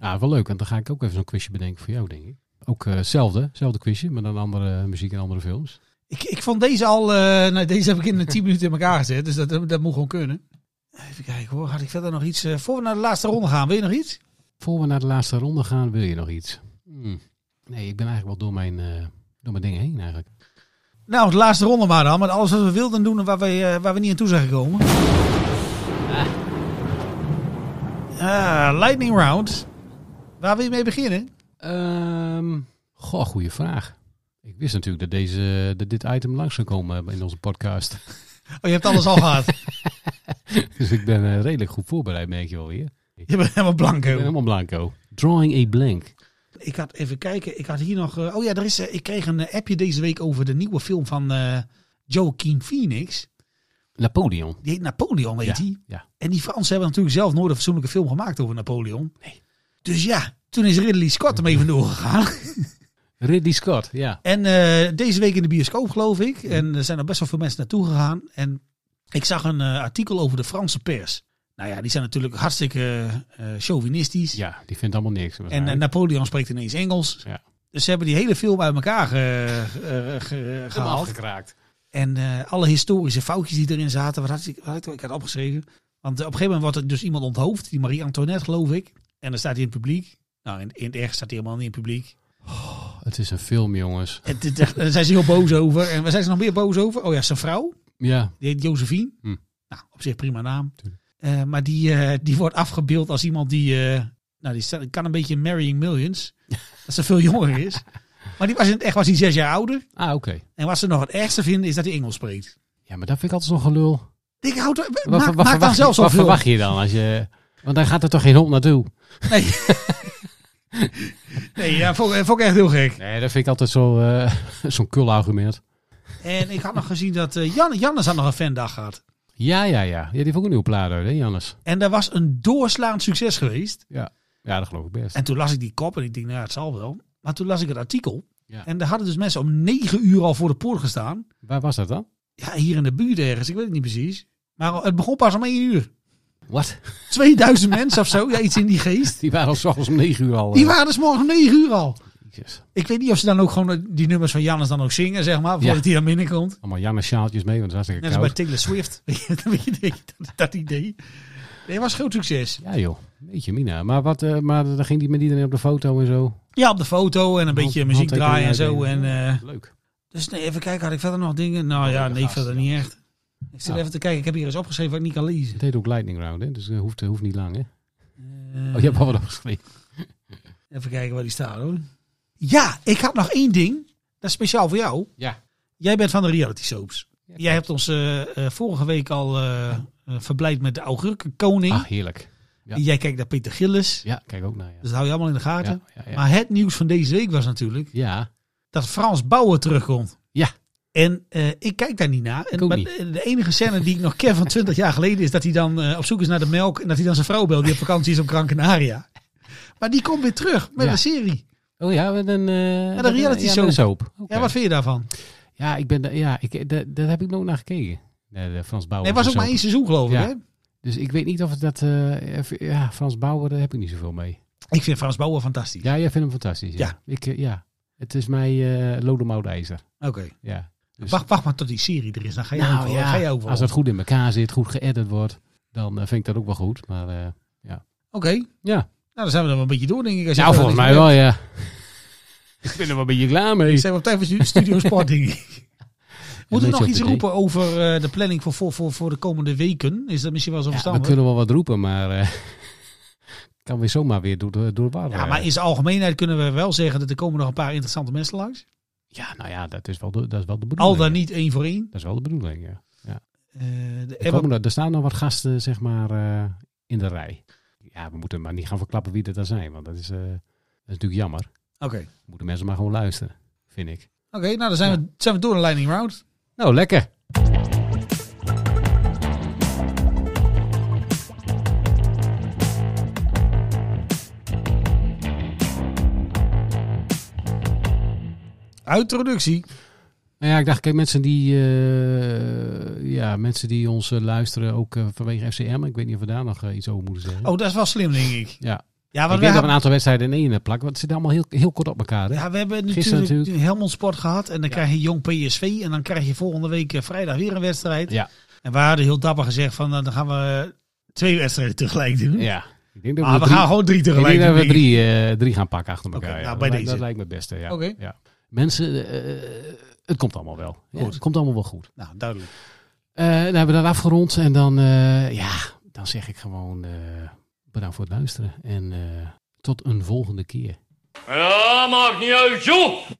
[SPEAKER 1] Ja, Nou, wel leuk. En dan ga ik ook even zo'n quizje bedenken voor jou, denk ik. Ook eh, hetzelfde, hetzelfde quizje, maar dan andere eh, muziek en andere films.
[SPEAKER 6] Ik, ik vond deze al, eh, nou, deze heb ik in 10 minuten in elkaar gezet, dus dat, dat moet gewoon kunnen. Even kijken hoor, had ik verder nog iets? eh, voor we naar de laatste ronde gaan, wil je nog iets?
[SPEAKER 1] Voor we naar de laatste ronde gaan, wil je nog iets? Hmm. Nee, ik ben eigenlijk wel door mijn, eh, door mijn dingen heen eigenlijk.
[SPEAKER 6] Nou, de laatste ronde maar dan. Met alles wat we wilden doen en waar we, eh, waar we niet aan toe zijn gekomen. Ah, lightning round. Waar wil je mee beginnen?
[SPEAKER 1] Ehm, goh, goede vraag. Ik wist natuurlijk dat, deze, dat dit item langs zou komen in onze podcast. [LAUGHS]
[SPEAKER 6] Oh, je hebt alles al [LAUGHS] gehad.
[SPEAKER 1] Dus ik ben eh, redelijk goed voorbereid, merk je wel weer. Ik
[SPEAKER 6] Je bent helemaal
[SPEAKER 1] ben
[SPEAKER 6] blanco.
[SPEAKER 1] helemaal blanco. Drawing a blank.
[SPEAKER 6] Ik had even kijken. Ik had hier nog... eh, oh ja, er is, eh, ik kreeg een eh, appje deze week over de nieuwe film van eh Joaquin Phoenix.
[SPEAKER 1] Napoleon.
[SPEAKER 6] Die heet Napoleon, weet
[SPEAKER 1] ja,
[SPEAKER 6] hij.
[SPEAKER 1] ja.
[SPEAKER 6] En die Fransen hebben natuurlijk zelf nooit een fatsoenlijke film gemaakt over Napoleon. Nee. Dus ja, toen is Ridley Scott ermee vandoor gegaan.
[SPEAKER 1] Ridley Scott, ja.
[SPEAKER 6] En eh, deze week in de bioscoop, geloof ik. En er zijn er best wel veel mensen naartoe gegaan. En ik zag een eh, artikel over de Franse pers. Nou ja, die zijn natuurlijk hartstikke eh, chauvinistisch.
[SPEAKER 1] Ja, die vindt allemaal niks.
[SPEAKER 6] en eh,
[SPEAKER 1] waarschijnlijk.
[SPEAKER 6] Napoleon spreekt ineens Engels.
[SPEAKER 1] Ja.
[SPEAKER 6] Dus ze hebben die hele film uit elkaar ge- ge- ge- gehaald.
[SPEAKER 1] afgekraakt.
[SPEAKER 6] En eh, alle historische foutjes die erin zaten, wat had ik, wat had ik- ik had opgeschreven. Want eh, op een gegeven moment wordt er dus iemand onthoofd, die Marie Antoinette geloof ik. En dan staat hij in het publiek. Nou, in, in het erg staat hij helemaal niet in het publiek.
[SPEAKER 1] Oh, Het is een film, jongens.
[SPEAKER 6] En dit- daar zijn ze heel boos over. En waar zijn ze nog meer boos over? Oh ja, zijn vrouw.
[SPEAKER 1] Ja,
[SPEAKER 6] Die heet Josephine.
[SPEAKER 1] Hm.
[SPEAKER 6] Nou, op zich prima naam.
[SPEAKER 1] Tuurlijk.
[SPEAKER 6] Eh, maar die, eh, die wordt afgebeeld als iemand die... eh, nou, die staat- kan een beetje in Marrying
[SPEAKER 1] [LAUGHS]
[SPEAKER 6] Millions. dat ze veel jonger is. Maar die was in het echt was die zes jaar ouder.
[SPEAKER 1] ah, oké.
[SPEAKER 6] En wat ze nog het ergste vinden is dat hij Engels spreekt.
[SPEAKER 1] Ja, maar dat vind ik altijd zo'n gelul.
[SPEAKER 6] Ik houd, maak,
[SPEAKER 1] Wat, wat,
[SPEAKER 6] maak dan
[SPEAKER 1] verwacht,
[SPEAKER 6] zelf
[SPEAKER 1] je, wat
[SPEAKER 6] zoveel.
[SPEAKER 1] verwacht je dan? Als je, want daar gaat er toch geen hond naartoe?
[SPEAKER 6] Nee. nee, ja, vond, ik- vond ik echt heel gek.
[SPEAKER 1] Nee, dat vind ik altijd zo, eh, [LAUGHS] zo'n kul argument.
[SPEAKER 6] En ik had nog gezien dat eh, Jan, Jannes had nog een fandag gehad.
[SPEAKER 1] Ja, ja, ja. Ja, die heeft ook een nieuwe plaat uit, hè, Jannes?
[SPEAKER 6] En dat was een doorslaand succes geweest.
[SPEAKER 1] Ja. ja, dat geloof ik best.
[SPEAKER 6] En toen las ik die kop en ik denk, nou, het zal wel. Maar toen las ik het artikel.
[SPEAKER 1] Ja.
[SPEAKER 6] En daar hadden dus mensen om negen uur al voor de poort gestaan.
[SPEAKER 1] Waar was dat dan?
[SPEAKER 6] Ja, hier in de buurt ergens. Ik weet het niet precies. Maar het begon pas om één uur.
[SPEAKER 1] Wat? [LAUGHS]
[SPEAKER 6] 2000 mensen of zo. Ja, iets in die geest.
[SPEAKER 1] Die waren al s'ochtends om negen uur al.
[SPEAKER 6] Die
[SPEAKER 1] eh,
[SPEAKER 6] waren dus morgen om 9 uur al.
[SPEAKER 1] Jezus.
[SPEAKER 6] Ik weet niet of ze dan ook gewoon eh, die nummers van Jannes dan ook zingen, zeg maar. Voordat
[SPEAKER 1] Ja.
[SPEAKER 6] hij dan binnenkomt.
[SPEAKER 1] Allemaal Janne sjaaltjes mee, want het was
[SPEAKER 6] Net
[SPEAKER 1] hartstikke
[SPEAKER 6] als bij
[SPEAKER 1] koud.
[SPEAKER 6] Taylor Swift. [LAUGHS] Weet je, weet je, dat, dat idee. Nee, was groot succes.
[SPEAKER 1] Ja joh, beetje mina. Maar, wat, eh, maar dan ging die met iedereen op de foto en zo.
[SPEAKER 6] Ja, op de foto en een
[SPEAKER 1] Hand-
[SPEAKER 6] beetje muziek
[SPEAKER 1] handtekening
[SPEAKER 6] draaien en zo. En,
[SPEAKER 1] uitdelen.
[SPEAKER 6] eh,
[SPEAKER 1] Leuk.
[SPEAKER 6] dus nee, even kijken, had ik verder nog dingen? Nou ja, nee,
[SPEAKER 1] gast,
[SPEAKER 6] verder
[SPEAKER 1] ja. Nou.
[SPEAKER 6] niet echt. Ik zit
[SPEAKER 1] Ja.
[SPEAKER 6] even te kijken, ik heb hier eens opgeschreven wat ik niet kan lezen.
[SPEAKER 1] Het heet ook Lightning Round, hè? dus het hoeft, hoeft niet lang. Hè?
[SPEAKER 6] Eh,
[SPEAKER 1] Oh, je hebt al wat opgeschreven.
[SPEAKER 6] Even kijken waar die staat hoor. Ja, ik had nog één ding. Dat is speciaal voor jou.
[SPEAKER 1] Ja.
[SPEAKER 6] Jij bent van de reality soaps. Jij hebt ons eh, eh, vorige week al eh, eh, verblijd met de augurkenkoning.
[SPEAKER 1] Ach, Ah, heerlijk. ja.
[SPEAKER 6] Jij kijkt naar Peter Gillis.
[SPEAKER 1] Ja, kijk ook naar. Ja.
[SPEAKER 6] Dus dat hou je allemaal in de gaten.
[SPEAKER 1] Ja, ja, ja.
[SPEAKER 6] Maar het nieuws van deze week was natuurlijk
[SPEAKER 1] ja.
[SPEAKER 6] dat Frans Bauer terugkomt.
[SPEAKER 1] Ja.
[SPEAKER 6] En eh, ik kijk daar niet naar. En,
[SPEAKER 1] ook
[SPEAKER 6] maar
[SPEAKER 1] niet.
[SPEAKER 6] de- de enige scène die ik nog ken van 20 jaar geleden is dat hij dan eh, op zoek is naar de melk. En dat hij dan zijn vrouw belt die op vakantie is op Gran Canaria. Maar die komt weer terug met
[SPEAKER 1] Ja.
[SPEAKER 6] een serie.
[SPEAKER 1] Oh ja, met een... eh, met een-
[SPEAKER 6] reality
[SPEAKER 1] ja, met
[SPEAKER 6] soap.
[SPEAKER 1] een soap. Oké.
[SPEAKER 6] Ja, wat vind je daarvan?
[SPEAKER 1] Ja, ik ben, da- ja ik, da- daar heb ik nooit naar gekeken. Nee, de Frans Bauer.
[SPEAKER 6] Nee, was
[SPEAKER 1] is
[SPEAKER 6] ook maar
[SPEAKER 1] zo.
[SPEAKER 6] één seizoen geloof ik.
[SPEAKER 1] Ja.
[SPEAKER 6] Hè?
[SPEAKER 1] Dus ik weet niet of het dat... eh, even- ja, Frans Bauer, daar heb ik niet zoveel mee.
[SPEAKER 6] Ik vind Frans Bauer fantastisch.
[SPEAKER 1] Ja, jij vindt hem fantastisch. Ja. Ik, eh, ja. Het is mij eh lodemoudijzer.
[SPEAKER 6] Oké.
[SPEAKER 1] Ja. Dus- Nou
[SPEAKER 6] Wacht, wacht maar tot die serie er is. Dan ga je ook wel. dan Ga je ook wel.
[SPEAKER 1] als dat goed in elkaar zit, goed geëdit wordt, dan eh, vind ik dat ook wel goed. Maar eh,
[SPEAKER 6] Oké.
[SPEAKER 1] ja.
[SPEAKER 6] Nou, dan zijn we dan wel een beetje door denk ik. Als je
[SPEAKER 1] Nou,
[SPEAKER 6] verder
[SPEAKER 1] volgens
[SPEAKER 6] niks
[SPEAKER 1] mij
[SPEAKER 6] meer
[SPEAKER 1] wel,
[SPEAKER 6] hebt. [LAUGHS]
[SPEAKER 1] ja. ik ben er wel een beetje klaar mee.
[SPEAKER 6] Zijn we op tijd voor stu- Studio Sport denk
[SPEAKER 1] [LAUGHS]
[SPEAKER 6] ik. Moeten
[SPEAKER 1] beetje
[SPEAKER 6] we nog
[SPEAKER 1] op
[SPEAKER 6] iets
[SPEAKER 1] de
[SPEAKER 6] roepen over eh, de planning voor, voor, voor, voor de komende weken? Is dat misschien wel zo
[SPEAKER 1] Ja, we
[SPEAKER 6] verstandig?
[SPEAKER 1] kunnen wel wat roepen, maar eh, [LAUGHS] kan weer zomaar weer door de, door de war.
[SPEAKER 6] Ja,
[SPEAKER 1] eh.
[SPEAKER 6] maar in zijn algemeenheid kunnen we wel zeggen dat er komen nog een paar interessante mensen langs.
[SPEAKER 1] Ja, nou ja, dat is wel de, dat is wel de bedoeling.
[SPEAKER 6] Al dan niet één voor één.
[SPEAKER 1] Dat is wel de bedoeling, ja.
[SPEAKER 6] Eh, de
[SPEAKER 1] Er, komen er, er staan nog wat gasten, zeg maar, eh, in de rij. Ja, we moeten maar niet gaan verklappen wie dat dan zijn, want dat is, eh, dat is natuurlijk jammer.
[SPEAKER 6] Oké, Oké,
[SPEAKER 1] Moeten mensen maar gewoon luisteren, vind ik.
[SPEAKER 6] nou dan zijn, we, zijn we door de Lightning Round.
[SPEAKER 1] Nou, lekker.
[SPEAKER 6] Uitroductie.
[SPEAKER 1] Nou ja, ik dacht, kijk, mensen die, eh, ja, mensen die ons eh, luisteren, ook eh, vanwege FCM. Ik weet niet of we daar nog eh, iets over moeten zeggen.
[SPEAKER 6] Oh, dat is wel slim denk ik.
[SPEAKER 1] Ja,
[SPEAKER 6] Ja,
[SPEAKER 1] ik
[SPEAKER 6] want
[SPEAKER 1] denk
[SPEAKER 6] we
[SPEAKER 1] dat we een
[SPEAKER 6] hebben,
[SPEAKER 1] aantal wedstrijden in één eh, plakken, want het zit allemaal heel, heel kort op elkaar. Hè?
[SPEAKER 6] ja, we hebben
[SPEAKER 1] Gisteren
[SPEAKER 6] natuurlijk, Helmond Sport gehad. En dan krijg je Jong PSV. En dan krijg je volgende week eh, vrijdag weer een wedstrijd.
[SPEAKER 1] Ja.
[SPEAKER 6] En we hadden heel dapper gezegd van nou, dan gaan we eh, twee wedstrijden tegelijk doen.
[SPEAKER 1] Ja. Ik denk dat
[SPEAKER 6] Maar we
[SPEAKER 1] drie-
[SPEAKER 6] gaan gewoon drie
[SPEAKER 1] Ik
[SPEAKER 6] tegelijk
[SPEAKER 1] denk dat
[SPEAKER 6] doen.
[SPEAKER 1] we
[SPEAKER 6] denk ik.
[SPEAKER 1] drie, eh, drie gaan pakken achter elkaar.
[SPEAKER 6] Oké,
[SPEAKER 1] ja.
[SPEAKER 6] nou,
[SPEAKER 1] dat,
[SPEAKER 6] bij
[SPEAKER 1] lijkt,
[SPEAKER 6] deze.
[SPEAKER 1] dat lijkt me het beste. Ja.
[SPEAKER 6] Oké.
[SPEAKER 1] Ja. Mensen, eh, het komt allemaal wel. Ja,
[SPEAKER 6] Goed.
[SPEAKER 1] het komt allemaal wel goed.
[SPEAKER 6] Nou, duidelijk.
[SPEAKER 1] Eh, dan hebben we dat afgerond en dan, eh, ja, dan zeg ik gewoon eh, bedankt voor het luisteren. En eh, tot een volgende keer.
[SPEAKER 5] Ja, maakt niet uit, joh!